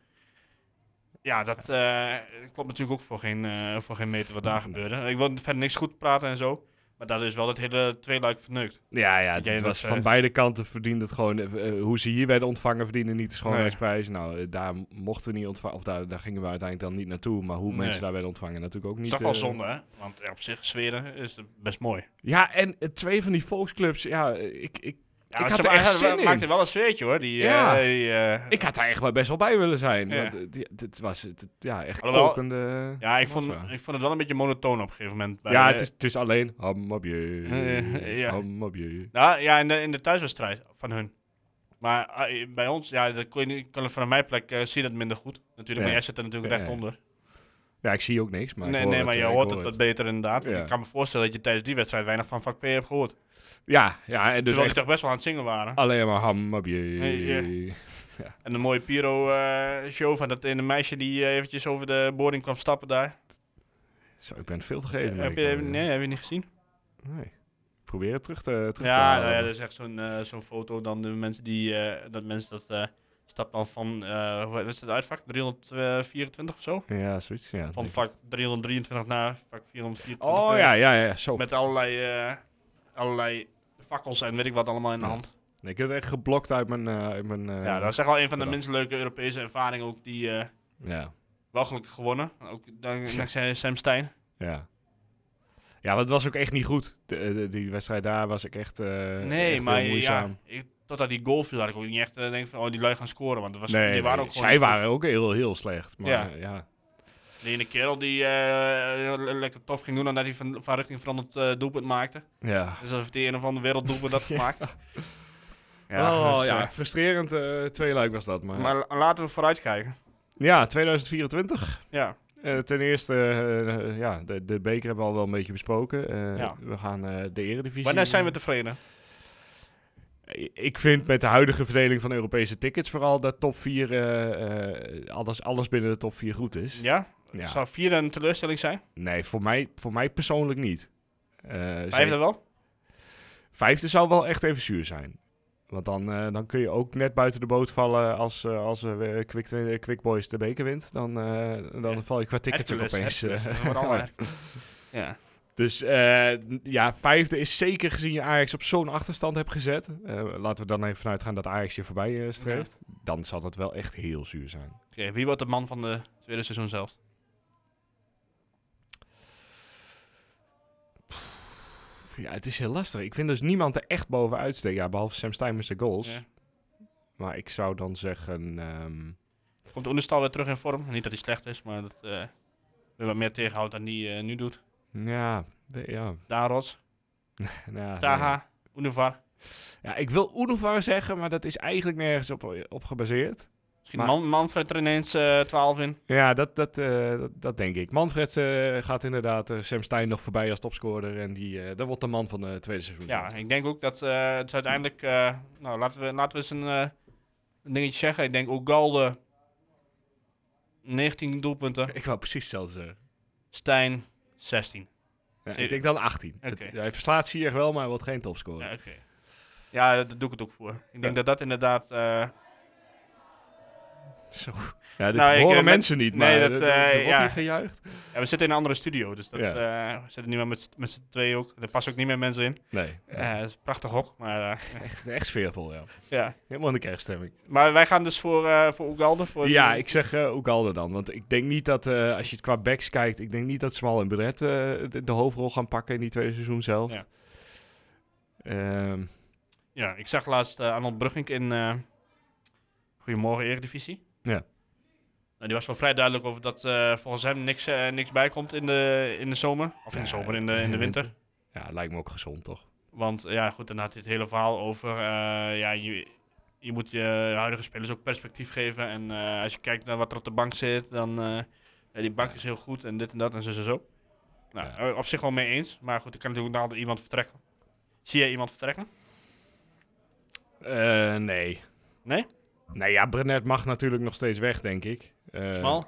Speaker 4: Ja, dat eh, klopt natuurlijk ook voor geen, eh, voor geen meter wat daar gebeurde. Ik wil verder niks goed praten en zo. Maar dat is wel het hele tweeluik verneukt.
Speaker 1: Ja, ja, het,
Speaker 4: Jij
Speaker 1: het
Speaker 4: dat
Speaker 1: was
Speaker 4: zegt.
Speaker 1: van beide kanten verdiend het gewoon. eh, eh, hoe ze hier werden ontvangen, verdienen niet de schoonheidsprijs. Nou, eh, daar mochten we niet ontvangen. Of daar, daar gingen we uiteindelijk dan niet naartoe. Maar hoe
Speaker 4: Nee.
Speaker 1: mensen daar werden ontvangen, natuurlijk ook niet.
Speaker 4: Dat is toch wel
Speaker 1: eh,
Speaker 4: zonde, hè? Want ja, op zich, sferen is best mooi.
Speaker 1: Ja, en eh, twee van die volksclubs. Ja, eh, ik, ik,
Speaker 4: Ja,
Speaker 1: ik
Speaker 4: maar
Speaker 1: had
Speaker 4: ze
Speaker 1: er echt
Speaker 4: ma-
Speaker 1: zin in.
Speaker 4: maakte wel een sfeertje, hoor. Die,
Speaker 1: Ja.
Speaker 4: eh, die, eh,
Speaker 1: Ik had daar echt wel best wel bij willen zijn.
Speaker 4: Ja.
Speaker 1: Want eh, die- dit was het, ja, echt
Speaker 4: Alhoewel-
Speaker 1: kokende...
Speaker 4: ja, ik vond,
Speaker 1: Wat, eh?
Speaker 4: ik vond het wel een beetje monotoon op een gegeven moment. bij-
Speaker 1: Ja, het is, het is alleen Hamabje,
Speaker 4: Eh, ja.
Speaker 1: Hamabje.
Speaker 4: Nou, ja, in de, in de thuiswedstrijd van hun. Maar eh, bij ons, ja, dat kon je niet, kan vanaf mijn plek eh, zie je dat minder goed. Natuurlijk,
Speaker 1: Ja.
Speaker 4: maar jij zit er natuurlijk
Speaker 1: Ja,
Speaker 4: recht onder.
Speaker 1: Ja, ik zie ook niks, maar ik
Speaker 4: nee,
Speaker 1: hoor
Speaker 4: nee,
Speaker 1: het,
Speaker 4: maar je
Speaker 1: eh, ik
Speaker 4: hoort
Speaker 1: hoor
Speaker 4: het wat beter inderdaad. Want
Speaker 1: Ja.
Speaker 4: Ik kan me voorstellen dat je tijdens die wedstrijd weinig van vak P hebt gehoord. Dus
Speaker 1: Ja, ja, en dus
Speaker 4: Terwijl die
Speaker 1: echt
Speaker 4: toch best wel aan het zingen waren.
Speaker 1: alleen maar Hamabje.
Speaker 4: Eh, En de mooie Piro-show van dat ene meisje die eh, eventjes over de boarding kwam stappen daar.
Speaker 1: Zo, ik ben veel vergeten. maar
Speaker 4: heb
Speaker 1: ik
Speaker 4: je,
Speaker 1: kan,
Speaker 4: heb-
Speaker 1: eh,
Speaker 4: nee, heb je niet gezien?
Speaker 1: nee. Ik probeer het terug te, terug te
Speaker 4: Ja,
Speaker 1: halen.
Speaker 4: nou ja, dat is echt zo'n eh, zo'n foto dan de mensen die, eh, dat mensen dat eh stap dan van, eh, hoe heet- wat is het uitvak? 324 of zo?
Speaker 1: Ja, zoiets. Ja,
Speaker 4: Van
Speaker 1: denk
Speaker 4: vak 323 naar vak 424.
Speaker 1: ik. Oh
Speaker 4: eh,
Speaker 1: ja, ja, ja, zo.
Speaker 4: Met allerlei, eh, allerlei fakkels en weet ik wat allemaal in de
Speaker 1: Ja.
Speaker 4: hand.
Speaker 1: Nee, ik heb het echt geblokt uit mijn... eh, uit mijn eh,
Speaker 4: ja, dat is echt wel een van de
Speaker 1: vandaag.
Speaker 4: minst leuke Europese ervaringen ook die eh
Speaker 1: ja,
Speaker 4: wel gelukkig gewonnen. Ook dank-
Speaker 1: Tja.
Speaker 4: dankzij Sam Stein.
Speaker 1: ja. Ja, want het was ook echt niet goed. De- de- die wedstrijd daar was ik echt, eh,
Speaker 4: nee,
Speaker 1: echt
Speaker 4: maar
Speaker 1: heel moeizaam.
Speaker 4: ja, ik, totdat die goal viel had ik ook niet echt eh, denk van, oh die lui gaan scoren. Want er was,
Speaker 1: Nee,
Speaker 4: die waren ook gewoon
Speaker 1: zij
Speaker 4: niet goed.
Speaker 1: waren ook heel, heel slecht. Maar
Speaker 4: Ja.
Speaker 1: ja. Ja.
Speaker 4: De ene kerel die eh, le- lekker tof ging doen nadat hij van, van richting veranderd eh, doelpunt maakte. Dus alsof die een of ander werelddoelpunt had gemaakt.
Speaker 1: oh,
Speaker 4: dus,
Speaker 1: ja.
Speaker 4: eh,
Speaker 1: frustrerend eh tweeluik was dat. Maar,
Speaker 4: maar la- laten we vooruitkijken.
Speaker 1: ja, 2024.
Speaker 4: Ja,
Speaker 1: Eh, ten eerste, eh, ja, de, de beker hebben we al wel een beetje besproken. Eh,
Speaker 4: Ja.
Speaker 1: We gaan eh, de eredivisie... Eh,
Speaker 4: wanneer zijn we tevreden?
Speaker 1: Ik vind met de huidige verdeling van Europese tickets vooral dat top 4, eh, eh, alles, alles binnen de top 4 goed is.
Speaker 4: Ja?
Speaker 1: Ja.
Speaker 4: Zou vier een teleurstelling zijn?
Speaker 1: Nee, voor mij, voor mij persoonlijk niet. Eh,
Speaker 4: Vijfde wel?
Speaker 1: Vijfde zou wel echt even zuur zijn. Want dan, eh, dan kun je ook net buiten de boot vallen als, eh, als eh, we- Quick, eh, Quick Boys de beker wint. Dan, eh, dan
Speaker 4: Ja.
Speaker 1: val je qua tickets ook opeens.
Speaker 4: Hercules, Hercules.
Speaker 1: eh,
Speaker 4: Dat wordt allemaal
Speaker 1: ja.
Speaker 4: Hercules. Ja.
Speaker 1: Dus eh, n- ja, vijfde is zeker gezien je Ajax op zo'n achterstand hebt gezet. Eh, laten we dan even vanuit gaan dat Ajax je voorbij eh, streeft. Dan zal dat wel echt heel zuur zijn.
Speaker 4: Oké, wie wordt de man van de tweede seizoen zelf?
Speaker 1: Ja, het is heel lastig. Ik vind dus niemand er echt bovenuit steekt. Ja, behalve Sam Stein met zijn goals.
Speaker 4: Ja.
Speaker 1: Maar ik zou dan zeggen... ehm,
Speaker 4: Komt Oenestal weer terug in vorm? Niet dat hij slecht is, maar dat eh weer wat meer tegenhoudt dan die eh, nu doet.
Speaker 1: ja, we- ja, nou
Speaker 4: Daan Rots,
Speaker 1: ja,
Speaker 4: Taha,
Speaker 1: Ah, nee.
Speaker 4: Univar.
Speaker 1: Ja, ik wil Oedovar zeggen, maar dat is eigenlijk nergens op, op gebaseerd.
Speaker 4: Misschien
Speaker 1: Maar-
Speaker 4: Man Manfred er ineens eh 12 in.
Speaker 1: Ja, dat, dat, eh, dat, dat denk ik. Manfred eh, gaat inderdaad eh, Sam Stein nog voorbij als topscorer. En die, eh dat wordt de man van het tweede seizoen.
Speaker 4: Ja, ik denk ook dat eh, het uiteindelijk... eh, nou, laten we, laten we eens een, eh, een dingetje zeggen. Ik denk ook Galde, 19 doelpunten.
Speaker 1: ik wou precies hetzelfde zeggen.
Speaker 4: Stijn, 16.
Speaker 1: Ja,
Speaker 4: Eh,
Speaker 1: ik denk dan 18.
Speaker 4: oké.
Speaker 1: Het- hij verslaat Sier wel, maar hij wordt geen topscorer.
Speaker 4: Ja, oké. Ja, daar doe ik het ook voor. Ik denk
Speaker 1: Ja.
Speaker 4: dat dat inderdaad... eh,
Speaker 1: Zo. Ja, dit
Speaker 4: Nou, ik,
Speaker 1: horen
Speaker 4: eh, met-
Speaker 1: mensen niet, maar
Speaker 4: nee,
Speaker 1: nee,
Speaker 4: dat,
Speaker 1: dat,
Speaker 4: eh,
Speaker 1: wordt
Speaker 4: ja.
Speaker 1: hier gejuicht.
Speaker 4: Ja, we zitten in een andere studio, dus dat,
Speaker 1: Ja.
Speaker 4: eh, we zitten nu maar met, z'n- met z'n tweeën ook. Er passen ook niet meer mensen in.
Speaker 1: Nee,
Speaker 4: Eh, Het is een prachtig hok, maar eh,
Speaker 1: echt, echt sfeervol, ja.
Speaker 4: ja.
Speaker 1: Helemaal in de kerststemming.
Speaker 4: Maar wij gaan dus voor, eh voor Ugalde. Voor
Speaker 1: Ja,
Speaker 4: die-
Speaker 1: ik zeg eh, ook Oegalde dan. Want ik denk niet dat, eh, als je het qua backs kijkt, ik denk niet dat Smal en Bret eh, de, de hoofdrol gaan pakken in die tweede seizoen zelf.
Speaker 4: Ja.
Speaker 1: Ehm,
Speaker 4: ja, ik zag laatst eh, Arnold Brugging in eh, Goedemorgen Eredivisie.
Speaker 1: Ja.
Speaker 4: Nou, die was wel vrij duidelijk over dat eh, volgens hem niks, eh, niks bij komt in de, in de zomer. Of in de
Speaker 1: Ja,
Speaker 4: zomer, in de, in de winter.
Speaker 1: ja, lijkt me ook gezond, toch?
Speaker 4: Want eh, ja, goed, dan had hij het hele verhaal over. eh, ja, je, je moet je huidige spelers ook perspectief geven. En eh, als je kijkt naar wat er op de bank zit, dan. eh, ja, die bank is heel goed en dit en dat en zo en zo. Nou,
Speaker 1: Ja.
Speaker 4: eh, op zich wel mee eens. Maar goed, ik kan natuurlijk altijd iemand vertrekken. Zie jij iemand vertrekken?
Speaker 1: Eh, nee.
Speaker 4: Nee?
Speaker 1: Nou ja, Brenet mag natuurlijk nog steeds weg, denk ik. Eh,
Speaker 4: Smal?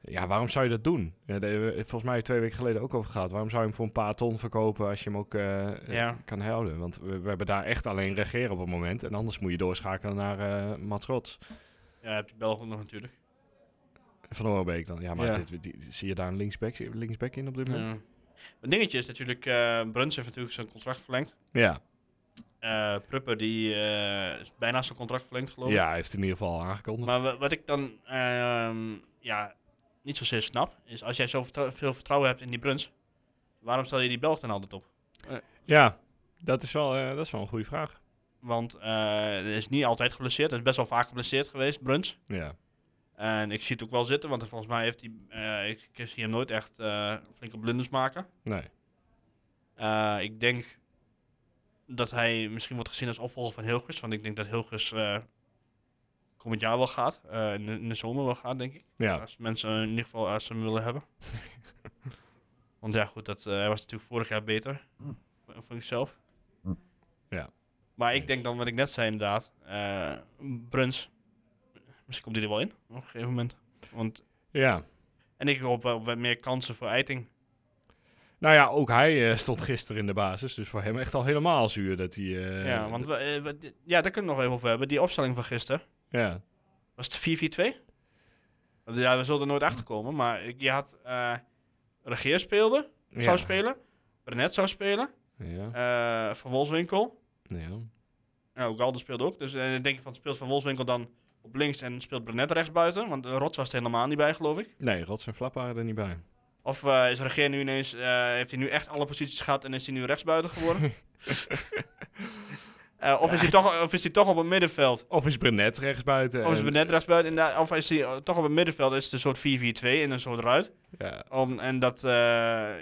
Speaker 1: Ja, waarom zou je dat doen? Ja, daar hebben we volgens mij twee weken geleden ook over gehad. Waarom zou je hem voor een paar ton verkopen als je hem ook eh, eh,
Speaker 4: Ja.
Speaker 1: kan houden? Want we, we hebben daar echt alleen regeren op het moment. En anders moet je doorschakelen naar eh Mats Rots.
Speaker 4: Ja, heb je Belgen nog natuurlijk.
Speaker 1: Van Oorbeek dan. Ja, maar
Speaker 4: Ja.
Speaker 1: Dit, die- zie je daar een linksback, linksback in op dit moment?
Speaker 4: Ja. Het dingetje is natuurlijk, eh Bruns heeft natuurlijk zijn contract verlengd.
Speaker 1: Ja.
Speaker 4: Eh Prupper die eh, is bijna zijn contract verlengd geloof ik.
Speaker 1: ja, hij heeft in ieder geval aangekondigd.
Speaker 4: Maar wa- wat ik dan ehm, ja, niet zozeer snap, is als jij zo vertrou- veel vertrouwen hebt in die Bruns, waarom stel je die Belg dan altijd op?
Speaker 1: ja, dat is, wel, eh, dat is wel een goede vraag.
Speaker 4: Want eh hij is niet altijd geblesseerd, hij is best wel vaak geblesseerd geweest, Bruns.
Speaker 1: Ja.
Speaker 4: En ik zie het ook wel zitten, want volgens mij heeft hij, eh, ik, ik zie hem nooit echt eh, flinke blunders maken.
Speaker 1: Nee.
Speaker 4: Eh, ik denk dat hij misschien wordt gezien als opvolger van Hilgers. Want ik denk dat Hilgers eh, komend jaar wel gaat. eh, in, de, in de zomer wel gaat, denk ik.
Speaker 1: Ja.
Speaker 4: Als mensen in ieder geval als ze hem willen hebben. want ja, goed, dat, eh, hij was natuurlijk vorig jaar beter. v- Vond ik zelf.
Speaker 1: Ja.
Speaker 4: Maar ik
Speaker 1: Eens.
Speaker 4: denk dan wat ik net zei inderdaad. eh, Bruns. Misschien komt hij er wel in op een gegeven moment. Want,
Speaker 1: ja.
Speaker 4: en ik hoop wel wat meer kansen voor Eiting.
Speaker 1: Nou ja, ook hij eh, stond gisteren in de basis. Dus voor hem echt al helemaal zuur dat hij... eh,
Speaker 4: ja, want we, eh, we- d- ja, daar kunnen we nog even over hebben. Die opstelling van gisteren.
Speaker 1: Ja.
Speaker 4: Was het 4-4-2? Want ja, we zullen er nooit achter komen. Maar ik- je had. eh Regeer speelde.
Speaker 1: Ja.
Speaker 4: Zou spelen. Brenet zou spelen.
Speaker 1: Ja.
Speaker 4: eh, van Wolfswinkel.
Speaker 1: ja.
Speaker 4: Nou, Galder speelde ook. Dus eh, dan denk je van speelt Van Wolfswinkel dan op links en speelt Brenet rechts buiten. Want eh, Rots was er helemaal niet bij, geloof ik.
Speaker 1: Nee, Rots en Flap waren er niet bij.
Speaker 4: Of eh, is Regeer nu ineens. eh, heeft hij nu echt alle posities gehad en is hij nu rechtsbuiten geworden? Eh, of, is hij toch, of is hij toch op het middenveld?
Speaker 1: Of is Brenet rechtsbuiten.
Speaker 4: Of is
Speaker 1: en-
Speaker 4: het net rechtsbuiten inderdaad, of is hij eh, toch op het middenveld, is het een soort 4-4-2 in een soort ruit.
Speaker 1: Ja.
Speaker 4: Om, en dat, eh,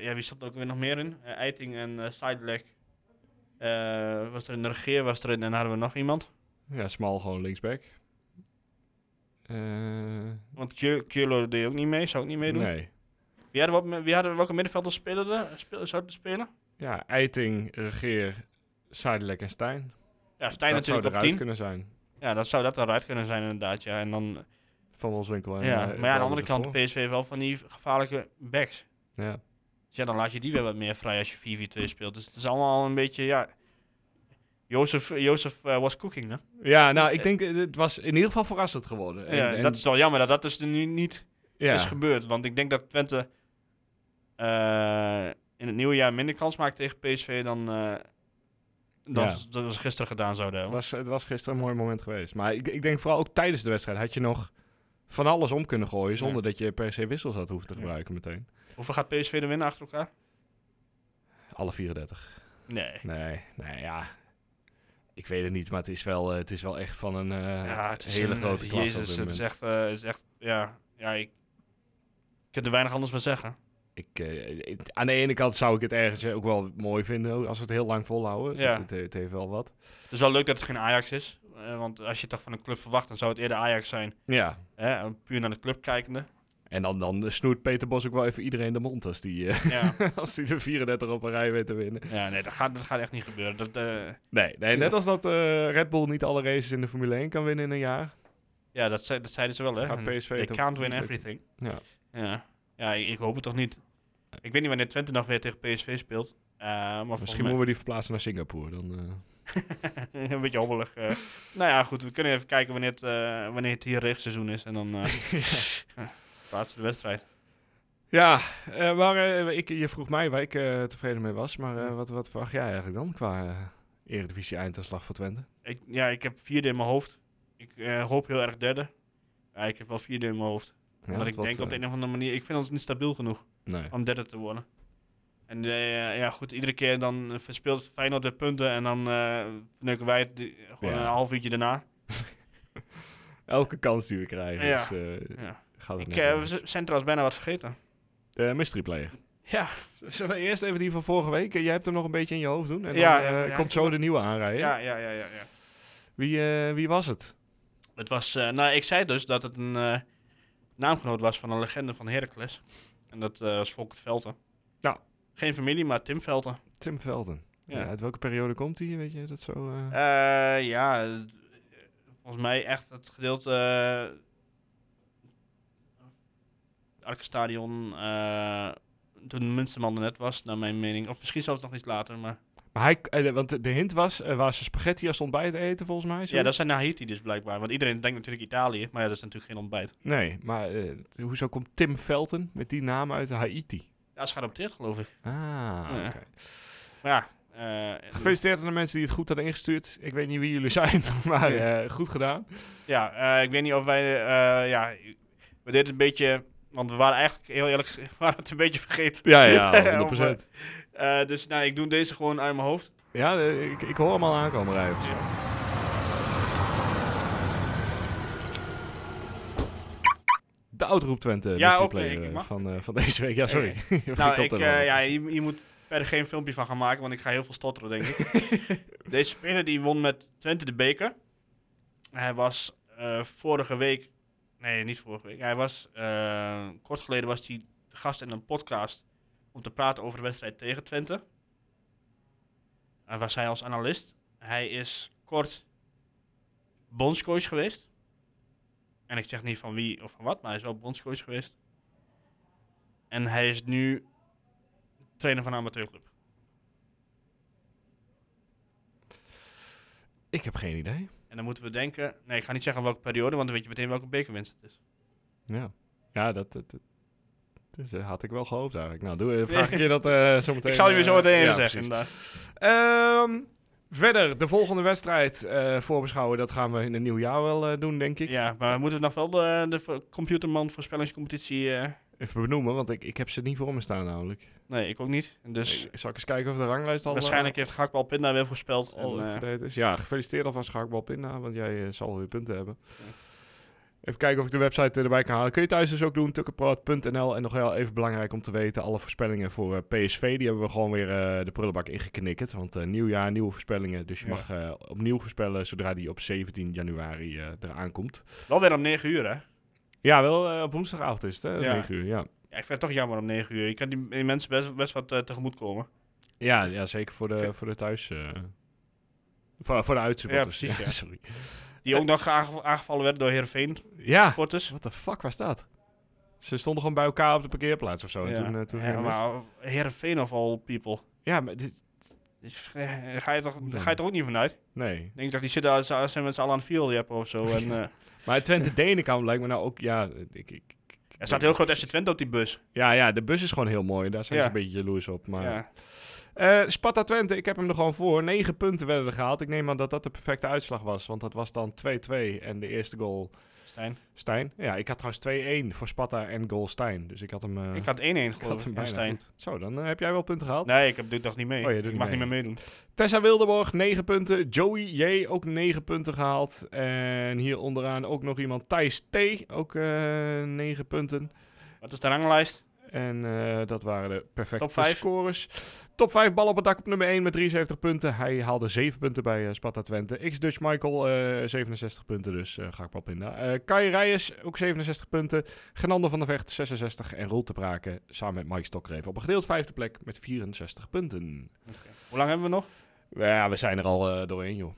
Speaker 4: ja, wie zat er ook weer nog meer in? Eh, Eiting en eh Sidelec. Eh, was er een regeer, was er een, en hadden we nog iemand.
Speaker 1: ja, Smal gewoon linksback. Eh,
Speaker 4: Want Kjolo deed ook niet mee, zou ook niet meedoen.
Speaker 1: nee.
Speaker 4: Wie, hadden we op, mi- wie hadden welke middenvelder spelen er, speel, zouden er spelen?
Speaker 1: Ja, Eiting, Regeer, Zuidelijk en Stijn.
Speaker 4: Ja, Stijn
Speaker 1: dat zou
Speaker 4: natuurlijk op
Speaker 1: eruit
Speaker 4: 10.
Speaker 1: kunnen zijn.
Speaker 4: Ja, dat zou dat eruit kunnen zijn inderdaad, ja. En dan,
Speaker 1: Van Wolfswinkel.
Speaker 4: ja.
Speaker 1: en, eh,
Speaker 4: Maar ja, aan de andere
Speaker 1: Bouwer
Speaker 4: kant,
Speaker 1: ervoor.
Speaker 4: PSV heeft wel van die gevaarlijke backs.
Speaker 1: Ja.
Speaker 4: Dus ja, dan laat je die weer wat meer vrij als je 4-4-2 speelt. Dus het is allemaal een beetje, ja... Jozef, Jozef eh, was cooking, hè?
Speaker 1: ja, nou, ik denk, eh, het was in ieder geval verrassend geworden. En,
Speaker 4: ja,
Speaker 1: en-
Speaker 4: dat is wel jammer dat dat dus er nu niet
Speaker 1: ja.
Speaker 4: is gebeurd. Want ik denk dat Twente eh, in het nieuwe jaar minder kans maakt tegen PSV dan, eh, dan
Speaker 1: Ja.
Speaker 4: ze- dat ze gisteren gedaan zouden
Speaker 1: Het
Speaker 4: hebben.
Speaker 1: was, het was gisteren een mooi moment geweest. Maar ik, ik denk vooral ook tijdens de wedstrijd had je nog van alles om kunnen gooien. Zonder dat je per se wissels had hoeven te
Speaker 4: Ja.
Speaker 1: gebruiken meteen.
Speaker 4: Hoeveel gaat PSV er winnen achter elkaar?
Speaker 1: Alle 34.
Speaker 4: Nee.
Speaker 1: Nee, nee, ja. Ik weet het niet, maar het is wel, eh, het is wel echt van een eh,
Speaker 4: Ja, het is
Speaker 1: hele
Speaker 4: een-
Speaker 1: grote klas op
Speaker 4: Jezus,
Speaker 1: dit
Speaker 4: het
Speaker 1: moment.
Speaker 4: is echt, eh, het is echt ja, ja, ik, ik kan er weinig anders van zeggen.
Speaker 1: Ik, eh, het- aan de ene kant zou ik het ergens eh, ook wel mooi vinden als we het heel lang volhouden.
Speaker 4: Ja.
Speaker 1: Het, het, het heeft wel wat.
Speaker 4: Het is wel leuk dat het geen Ajax is. eh, want als je het toch van een club verwacht, dan zou het eerder Ajax zijn.
Speaker 1: Ja,
Speaker 4: Hè, eh, puur naar de club kijkende.
Speaker 1: en dan, dan snoert Peter Bos ook wel even iedereen de mond als die, eh,
Speaker 4: Ja,
Speaker 1: als die de 34 op een rij weet te winnen.
Speaker 4: ja nee, dat gaat, dat gaat echt niet gebeuren. Dat, eh,
Speaker 1: Nee, nee net als dat eh, Red Bull niet alle races in de Formule 1 kan winnen in een jaar.
Speaker 4: ja, dat, zei, dat zeiden ze wel, hè.
Speaker 1: Gaat PSV
Speaker 4: They
Speaker 1: het ook
Speaker 4: can't win
Speaker 1: niet
Speaker 4: everything.
Speaker 1: Ja.
Speaker 4: Ja, ja ik, ik hoop het toch niet. Ik weet niet wanneer Twente nog weer tegen PSV speelt. eh, maar
Speaker 1: Misschien moeten we die verplaatsen naar Singapore. Dan, eh,
Speaker 4: we... een beetje hobbelig. eh. nou ja, goed. We kunnen even kijken wanneer het, eh, wanneer het hier regenseizoen is. En dan eh plaatsen we de wedstrijd.
Speaker 1: Ja, eh, waar, eh, ik, je vroeg mij waar ik eh, tevreden mee was. Maar eh, wat, wat verwacht jij eigenlijk dan qua eh, Eredivisie-einduitslag voor Twente?
Speaker 4: Ik, ja, ik heb vierde in mijn hoofd. Ik eh, hoop heel erg derde. Ja, ik heb wel vierde in mijn hoofd.
Speaker 1: Ja,
Speaker 4: Omdat ik
Speaker 1: wat,
Speaker 4: denk op
Speaker 1: eh,
Speaker 4: de een of andere manier... Ik vind ons niet stabiel genoeg.
Speaker 1: Nee.
Speaker 4: om derde te worden. En eh, ja, goed, iedere keer dan eh, verspeelt Feyenoord de punten en dan eh neuken wij het die- gewoon
Speaker 1: Ja.
Speaker 4: een half uurtje daarna.
Speaker 1: Elke kans die we krijgen
Speaker 4: Ja.
Speaker 1: is, eh,
Speaker 4: Ja.
Speaker 1: gaat het
Speaker 4: Ik,
Speaker 1: net
Speaker 4: eh, we
Speaker 1: anders.
Speaker 4: z- zijn trouwens bijna wat vergeten.
Speaker 1: Eh, mystery player.
Speaker 4: Ja,
Speaker 1: Zullen we eerst even die van vorige week? Eh, Jij hebt hem nog een beetje in je hoofd doen. En
Speaker 4: Ja,
Speaker 1: dan eh,
Speaker 4: ja, ja.
Speaker 1: komt zo de nieuwe aanrijden.
Speaker 4: ja, ja, ja, ja. ja.
Speaker 1: Wie, eh, wie was het?
Speaker 4: Het was, eh, nou, ik zei dus dat het een eh, naamgenoot was van een legende van Heracles. En dat eh, was Volkert Velten.
Speaker 1: Nou.
Speaker 4: Geen familie, maar Tim Velten.
Speaker 1: Tim Velden. Ja.
Speaker 4: Ja.
Speaker 1: uit welke periode komt hij? Weet je dat zo? eh?
Speaker 4: Eh, ja, eh, volgens mij echt het gedeelte. eh Arkenstadion. eh, toen Munsterman er net was, naar mijn mening. Of misschien zelfs nog iets later, maar.
Speaker 1: Maar hij, eh, want de- de hint was, eh, waar ze spaghetti als ontbijt eten volgens mij.
Speaker 4: Ja,
Speaker 1: zoiets.
Speaker 4: dat zijn naar Haiti dus blijkbaar. Want iedereen denkt natuurlijk Italië, maar ja, dat is natuurlijk geen ontbijt.
Speaker 1: Nee, maar eh, hoezo komt Tim Felton met die naam uit Haiti?
Speaker 4: Ja, is geadopteerd geloof ik.
Speaker 1: Ah,
Speaker 4: Ja.
Speaker 1: oké.
Speaker 4: Maar ja, eh,
Speaker 1: Gefeliciteerd aan de mensen die het goed hadden ingestuurd. Ik weet niet wie jullie zijn, maar eh, goed gedaan.
Speaker 4: Ja, eh, ik weet niet of wij. eh, ja, we deden het een beetje. Want we waren eigenlijk heel eerlijk gezegd, we waren het een beetje vergeten.
Speaker 1: Ja, ja,
Speaker 4: 100%. Eh, dus nou, ik doe deze gewoon uit mijn hoofd.
Speaker 1: ja, eh, ik, ik hoor hem al aankomen, Rijvers. De outroep Twente,
Speaker 4: Ja,
Speaker 1: mystery
Speaker 4: oké,
Speaker 1: player,
Speaker 4: ik
Speaker 1: eh,
Speaker 4: mag.
Speaker 1: van, eh, van deze week. Ja, sorry.
Speaker 4: nou, ik,
Speaker 1: Verkopt
Speaker 4: eh,
Speaker 1: hem al.
Speaker 4: ja, je, je moet verder geen filmpje van gaan maken, want ik ga heel veel stotteren, denk ik. deze speler die won met Twente de beker. Hij was eh, vorige week. Nee, niet vorige week. Hij was. eh, kort geleden was hij de gast in een podcast om te praten over de wedstrijd tegen Twente. En was hij als analist. Hij is kort bondscoach geweest. En ik zeg niet van wie of van wat, maar hij is wel bondscoach geweest. En hij is nu trainer van een amateurclub.
Speaker 1: Ik heb geen idee.
Speaker 4: En dan moeten we denken... Nee, ik ga niet zeggen welke periode, want dan weet je meteen welke bekerwinst het is.
Speaker 1: Ja, ja dat, dat, dat- dus, eh, had ik wel gehoopt eigenlijk. Nou, doe, eh, vraag ik je dat eh zo meteen.
Speaker 4: ik zal je weer zo
Speaker 1: eh,
Speaker 4: meteen even
Speaker 1: ja,
Speaker 4: zeggen.
Speaker 1: precies.
Speaker 4: inderdaad.
Speaker 1: Ehm, verder, de volgende wedstrijd eh, voorbeschouwen. Dat gaan we in het nieuwe jaar wel eh, doen, denk ik.
Speaker 4: Ja, maar moeten we nog wel de, de vo- computerman voorspellingscompetitie... eh,
Speaker 1: Even benoemen, want ik, ik heb ze niet voor me staan namelijk.
Speaker 4: nee, ik ook niet. Dus
Speaker 1: Ik- Zal ik eens kijken of de ranglijst al... eh, Oh,
Speaker 4: waarschijnlijk heeft Gakbal Pinda weer voorspeld. En,
Speaker 1: al
Speaker 4: eh,
Speaker 1: upgedate is. Ja, gefeliciteerd alvast Schaakbal Pinda, want jij eh, zal weer punten hebben. Even kijken of ik de website eh, erbij kan halen. Kun je thuis dus ook doen, tukkenpraat.nl. En nog wel even belangrijk om te weten, alle voorspellingen voor eh, PSV, die hebben we gewoon weer eh, de prullenbak ingeknikkerd. Want eh, nieuw jaar, nieuwe voorspellingen. Dus je
Speaker 4: Ja.
Speaker 1: mag eh, opnieuw voorspellen zodra die op 17 januari eh eraan komt.
Speaker 4: wel weer om 9 uur, hè?
Speaker 1: Ja, wel eh, op woensdagavond is het, hè?
Speaker 4: Ja.
Speaker 1: 9 uur, ja.
Speaker 4: Ja, ik vind het toch jammer om 9 uur. Je kan die, die mensen best, best wat eh, tegemoetkomen.
Speaker 1: Ja, ja zeker voor de,
Speaker 4: Oké.
Speaker 1: voor de thuis. eh, voor, voor de uitsupporters.
Speaker 4: Ja, precies, ja.
Speaker 1: sorry.
Speaker 4: Die ook nog aange- aangevallen werden door Heerenveen.
Speaker 1: Ja,
Speaker 4: Supporters.
Speaker 1: wat de fuck was dat? Ze stonden gewoon bij elkaar op de parkeerplaats of zo. En
Speaker 4: Ja.
Speaker 1: toen, eh, toen
Speaker 4: ja,
Speaker 1: ging het mis.
Speaker 4: maar Heerenveen of all people.
Speaker 1: ja, maar dit...
Speaker 4: Dus, eh, ga, je toch,
Speaker 1: Hoe dan?
Speaker 4: ga je toch ook niet vanuit?
Speaker 1: Nee.
Speaker 4: Ik denk dat die zitten als, als zijn met z'n allen aan het viooljappen of zo. En, eh
Speaker 1: Maar Twente Denenkamp lijkt me nou ook... Ja, ik, ik, ik-
Speaker 4: er staat heel groot FC Twente op die bus.
Speaker 1: ja, ja, de bus is gewoon heel mooi. Daar zijn
Speaker 4: Ja.
Speaker 1: ze een beetje jaloers op. Maar...
Speaker 4: Ja.
Speaker 1: Eh, Sparta Twente, ik heb hem er gewoon voor. 9 punten werden er gehaald. Ik neem aan dat dat de perfecte uitslag was. Want dat was dan 2-2 en de eerste goal
Speaker 4: Stijn.
Speaker 1: Stijn. Ja, ik had trouwens 2-1 voor Sparta en goal Stijn. Dus ik had hem... eh,
Speaker 4: ik had 1-1 geloof
Speaker 1: Ik
Speaker 4: ik.
Speaker 1: had hem
Speaker 4: en
Speaker 1: bijna
Speaker 4: Stijn.
Speaker 1: goed. Zo, dan eh, heb jij wel punten gehaald.
Speaker 4: Nee, ik heb, doe dat niet mee.
Speaker 1: Oh, je doet
Speaker 4: ik
Speaker 1: niet
Speaker 4: mag
Speaker 1: mee.
Speaker 4: niet meer meedoen.
Speaker 1: Tessa Wildeborg, 9 punten. Joey J, ook 9 punten gehaald. En hier onderaan ook nog iemand, Thijs T, ook eh 9 punten.
Speaker 4: Wat is de ranglijst?
Speaker 1: En eh, dat waren de perfecte
Speaker 4: Top vijf.
Speaker 1: scorers. Top 5 bal op het dak op nummer 1 met 73 punten. Hij haalde 7 punten bij eh, Sparta Twente. X-Dutch Michael, eh, 67 punten dus. eh ga ik wel pinda. Eh, Kai Rijers, ook 67 punten. Genander van der Vecht, 66. En Roel te Braken samen met Mike Stokreven op een gedeeld vijfde plek met 64 punten.
Speaker 4: Hoe lang hebben we nog?
Speaker 1: Ja, we zijn er al eh, doorheen, joh.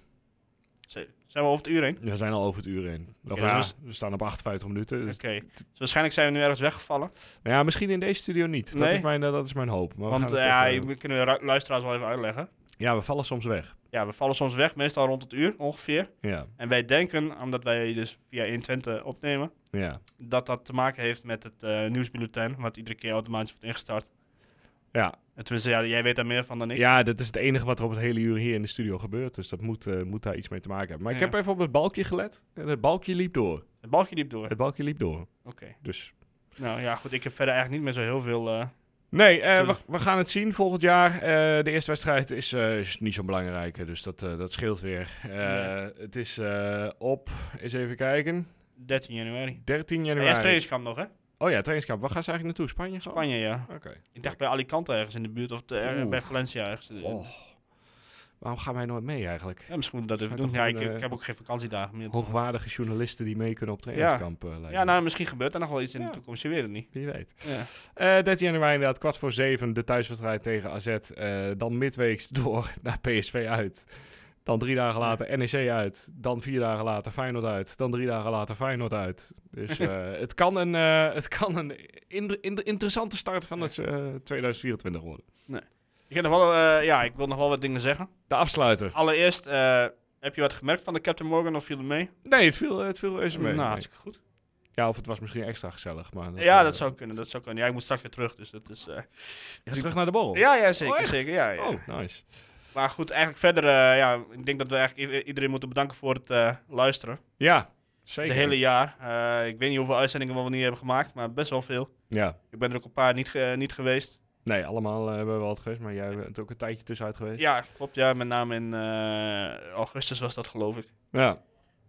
Speaker 4: Z- Zijn we over het uur heen?
Speaker 1: We zijn al over het uur in. Of
Speaker 4: Oké,
Speaker 1: ja,
Speaker 4: dus-
Speaker 1: we staan op 58 minuten.
Speaker 4: Oké.
Speaker 1: Dus,
Speaker 4: Dus waarschijnlijk zijn we nu ergens weggevallen.
Speaker 1: Nou ja, misschien in deze studio niet. Dat,
Speaker 4: Nee?
Speaker 1: is, mijn, eh, dat is mijn hoop. Maar we
Speaker 4: want
Speaker 1: gaan
Speaker 4: eh,
Speaker 1: het
Speaker 4: ja,
Speaker 1: even-
Speaker 4: je moet- kunnen we ru- luisteraars wel even uitleggen.
Speaker 1: ja, we vallen soms weg.
Speaker 4: Ja, we vallen soms weg, meestal rond het uur ongeveer.
Speaker 1: Ja,
Speaker 4: En wij denken, omdat wij dus via 120 opnemen,
Speaker 1: ja.
Speaker 4: dat dat te maken heeft met het eh nieuwsbulletin, wat iedere keer automatisch wordt ingestart.
Speaker 1: Ja.
Speaker 4: En tenminste, ja, jij weet daar meer van dan ik.
Speaker 1: ja, dat is het enige wat er op het hele uur hier in de studio gebeurt. Dus dat moet, eh, moet daar iets mee te maken hebben. Maar ik
Speaker 4: Ja.
Speaker 1: heb even op het balkje gelet. En het balkje liep door.
Speaker 4: Het balkje liep door.
Speaker 1: Het balkje liep door.
Speaker 4: Oké.
Speaker 1: Dus
Speaker 4: Nou ja, goed, ik heb verder eigenlijk niet meer zo heel veel. eh,
Speaker 1: Nee, eh, we,
Speaker 4: Tuurlijk.
Speaker 1: we gaan het zien volgend jaar. Eh, de eerste wedstrijd is, eh, is niet zo belangrijk, eh, dus dat, eh, dat scheelt weer. Eh,
Speaker 4: Ja.
Speaker 1: Het is eh, op, eens even kijken,
Speaker 4: 13 januari.
Speaker 1: 13
Speaker 4: Ja, eerst
Speaker 1: januari.
Speaker 4: trainingskamp nog, hè?
Speaker 1: Oh ja, trainingskamp. Waar gaan ze eigenlijk naartoe? Spanje? gewoon?
Speaker 4: Spanje, ja.
Speaker 1: Oké.
Speaker 4: Ik dacht bij Alicante ergens in de buurt of te- eh,
Speaker 1: Oeh.
Speaker 4: bij Valencia ergens.
Speaker 1: Goh. Oh. Waarom gaan wij nooit mee eigenlijk?
Speaker 4: Ja, misschien moeten we
Speaker 1: Zijn
Speaker 4: dat even doen.
Speaker 1: toch
Speaker 4: Ja, ik,
Speaker 1: gewoon, eh,
Speaker 4: ik heb ook geen vakantiedagen meer.
Speaker 1: Hoogwaardige journalisten die mee kunnen op
Speaker 4: Ja.
Speaker 1: trainingskamp. eh, lijkt
Speaker 4: Ja,
Speaker 1: me.
Speaker 4: nou, misschien gebeurt er nog wel iets in
Speaker 1: Ja.
Speaker 4: de toekomst. Je weet het niet.
Speaker 1: Wie weet.
Speaker 4: Ja.
Speaker 1: Eh 13 januari inderdaad, kwart voor zeven, de thuiswedstrijd tegen AZ. Eh, dan midweeks door naar PSV uit. Dan drie dagen later NEC uit. Dan vier dagen later Feyenoord uit. Dan drie dagen later Feyenoord uit. Dus eh, het kan een, eh, het kan een in- in- interessante start van het eh, 2024 worden.
Speaker 4: Ik, heb nog wel, eh, ja, ik wil nog wel wat dingen zeggen.
Speaker 1: De afsluiter.
Speaker 4: Allereerst, eh, heb je wat gemerkt van de Captain Morgan of viel het mee?
Speaker 1: Nee, het viel, het viel reuze mee.
Speaker 4: nou,
Speaker 1: Nee.
Speaker 4: hartstikke goed.
Speaker 1: Ja, of het was misschien extra gezellig. Maar
Speaker 4: ja,
Speaker 1: eh,
Speaker 4: dat zou kunnen, dat zou kunnen. Ja, ik moet straks weer terug, dus dat is... eh,
Speaker 1: Ja, terug naar de borrel.
Speaker 4: ja, ja, zeker,
Speaker 1: Oh, echt?
Speaker 4: zeker. Ja, ja.
Speaker 1: Oh, nice.
Speaker 4: Maar goed, eigenlijk verder, eh, ja, ik denk dat we eigenlijk i- iedereen moeten bedanken voor het eh, luisteren.
Speaker 1: Ja, zeker.
Speaker 4: Het hele jaar. Eh, ik weet niet hoeveel uitzendingen we wel niet hebben gemaakt, maar best wel veel.
Speaker 1: Ja.
Speaker 4: Ik ben er ook een paar niet, ge- niet geweest.
Speaker 1: Nee, allemaal eh, hebben we wat geweest, maar jij bent ook een tijdje tussenuit geweest.
Speaker 4: Ja, klopt. Ja, met name in eh, augustus was dat, geloof ik.
Speaker 1: Ja,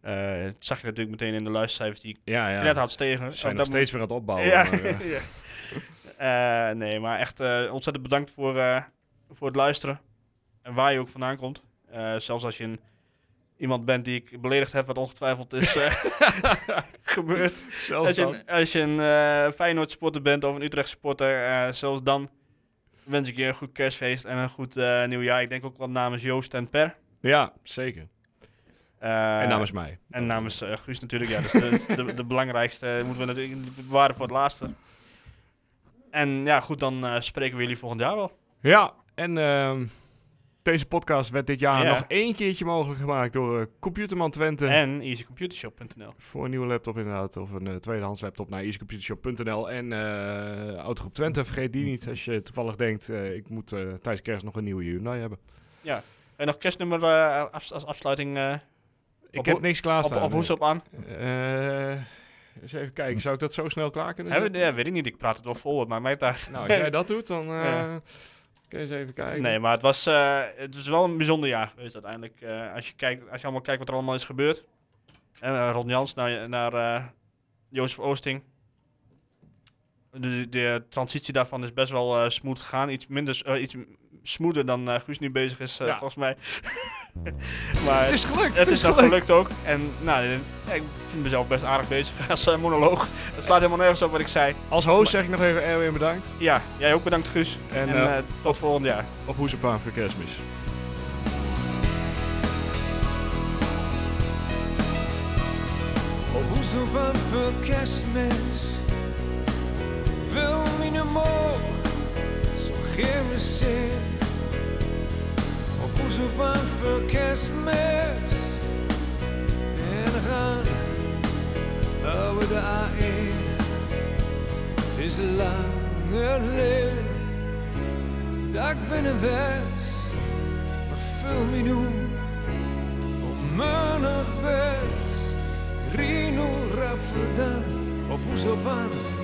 Speaker 4: Eh, dat zag je natuurlijk meteen in de luistercijfers die ik
Speaker 1: ja. ja.
Speaker 4: net had stegen.
Speaker 1: Ze zijn
Speaker 4: Op
Speaker 1: nog
Speaker 4: dat moment-
Speaker 1: steeds weer aan het opbouwen.
Speaker 4: Ja.
Speaker 1: maar, eh,
Speaker 4: ja. Eh, nee, maar echt eh, ontzettend bedankt voor, eh, voor het luisteren. En waar je ook vandaan komt. Eh, zelfs als je een, iemand bent die ik beledigd heb, wat ongetwijfeld is eh, gebeurd.
Speaker 1: zelfs
Speaker 4: Als je,
Speaker 1: dan.
Speaker 4: een- als je een eh, Feyenoord supporter bent of een Utrecht supporter, eh, zelfs dan wens ik je een goed kerstfeest en een goed eh, nieuwjaar. Ik denk ook wel namens Joost en Per.
Speaker 1: Ja, zeker.
Speaker 4: Eh,
Speaker 1: en namens mij.
Speaker 4: en namens eh, Guus natuurlijk, ja. Dus de, de, de belangrijkste moeten we natuurlijk bewaren voor het laatste. En ja, goed, dan eh, spreken we jullie volgend jaar wel.
Speaker 1: Ja, en ehm, deze podcast werd dit jaar
Speaker 4: Ja.
Speaker 1: nog één keertje mogelijk gemaakt door eh, Computerman Twente.
Speaker 4: En easycomputershop.nl.
Speaker 1: Voor een nieuwe laptop inderdaad, of een eh, tweedehands laptop naar easycomputershop.nl. En eh Autogroep Twente, vergeet die niet als je toevallig denkt, eh, ik moet eh, tijdens kerst nog een nieuwe Hyundai hebben.
Speaker 4: En nog kerstnummer eh, afs- als afsluiting eh,
Speaker 1: Ik
Speaker 4: Op
Speaker 1: heb
Speaker 4: hoe-
Speaker 1: niks
Speaker 4: op,
Speaker 1: klaarstaan.
Speaker 4: op hoes op aan.
Speaker 1: Eh, eens even kijken, zou ik dat zo snel klaar kunnen
Speaker 4: Hebben we-
Speaker 1: zetten?
Speaker 4: ja, weet ik niet, ik praat het wel vol, maar mij daar.
Speaker 1: Nou, als jij dat doet, dan eh
Speaker 4: Ja.
Speaker 1: kun je eens even kijken.
Speaker 4: Nee, maar het was, eh, het was wel een bijzonder jaar geweest uiteindelijk. Eh, als, je kijkt, als je allemaal kijkt wat er allemaal is gebeurd. En eh, Ron Jans naar, naar eh, Jozef Oosting. De, de, de transitie daarvan is best wel eh smooth gegaan. Iets minder, s- eh, iets m- smoother dan eh, Guus nu bezig is, eh,
Speaker 1: Ja.
Speaker 4: volgens mij. maar
Speaker 1: Het is gelukt,
Speaker 4: het is nog gelukt ook. En nou, eh, ik vind mezelf best aardig bezig als eh, monoloog. Het slaat helemaal nergens op wat ik zei.
Speaker 1: Als host zeg ik nog even Erwin bedankt.
Speaker 4: Ja, jij ook bedankt Guus.
Speaker 1: En,
Speaker 4: En,
Speaker 1: eh,
Speaker 4: eh, tot volgend jaar.
Speaker 1: Op Hoesepaan voor kerstmis.
Speaker 5: Op hoezelbaan voor kerstmis Wil mijn mol zo chemisch zijn. Op hoezelbaan voor kerstmis En we gaan over de A1 Het is een lange leven Dat ik binnen was Maar vul me nu op mijn best Rino Rafferdam op Oezobaan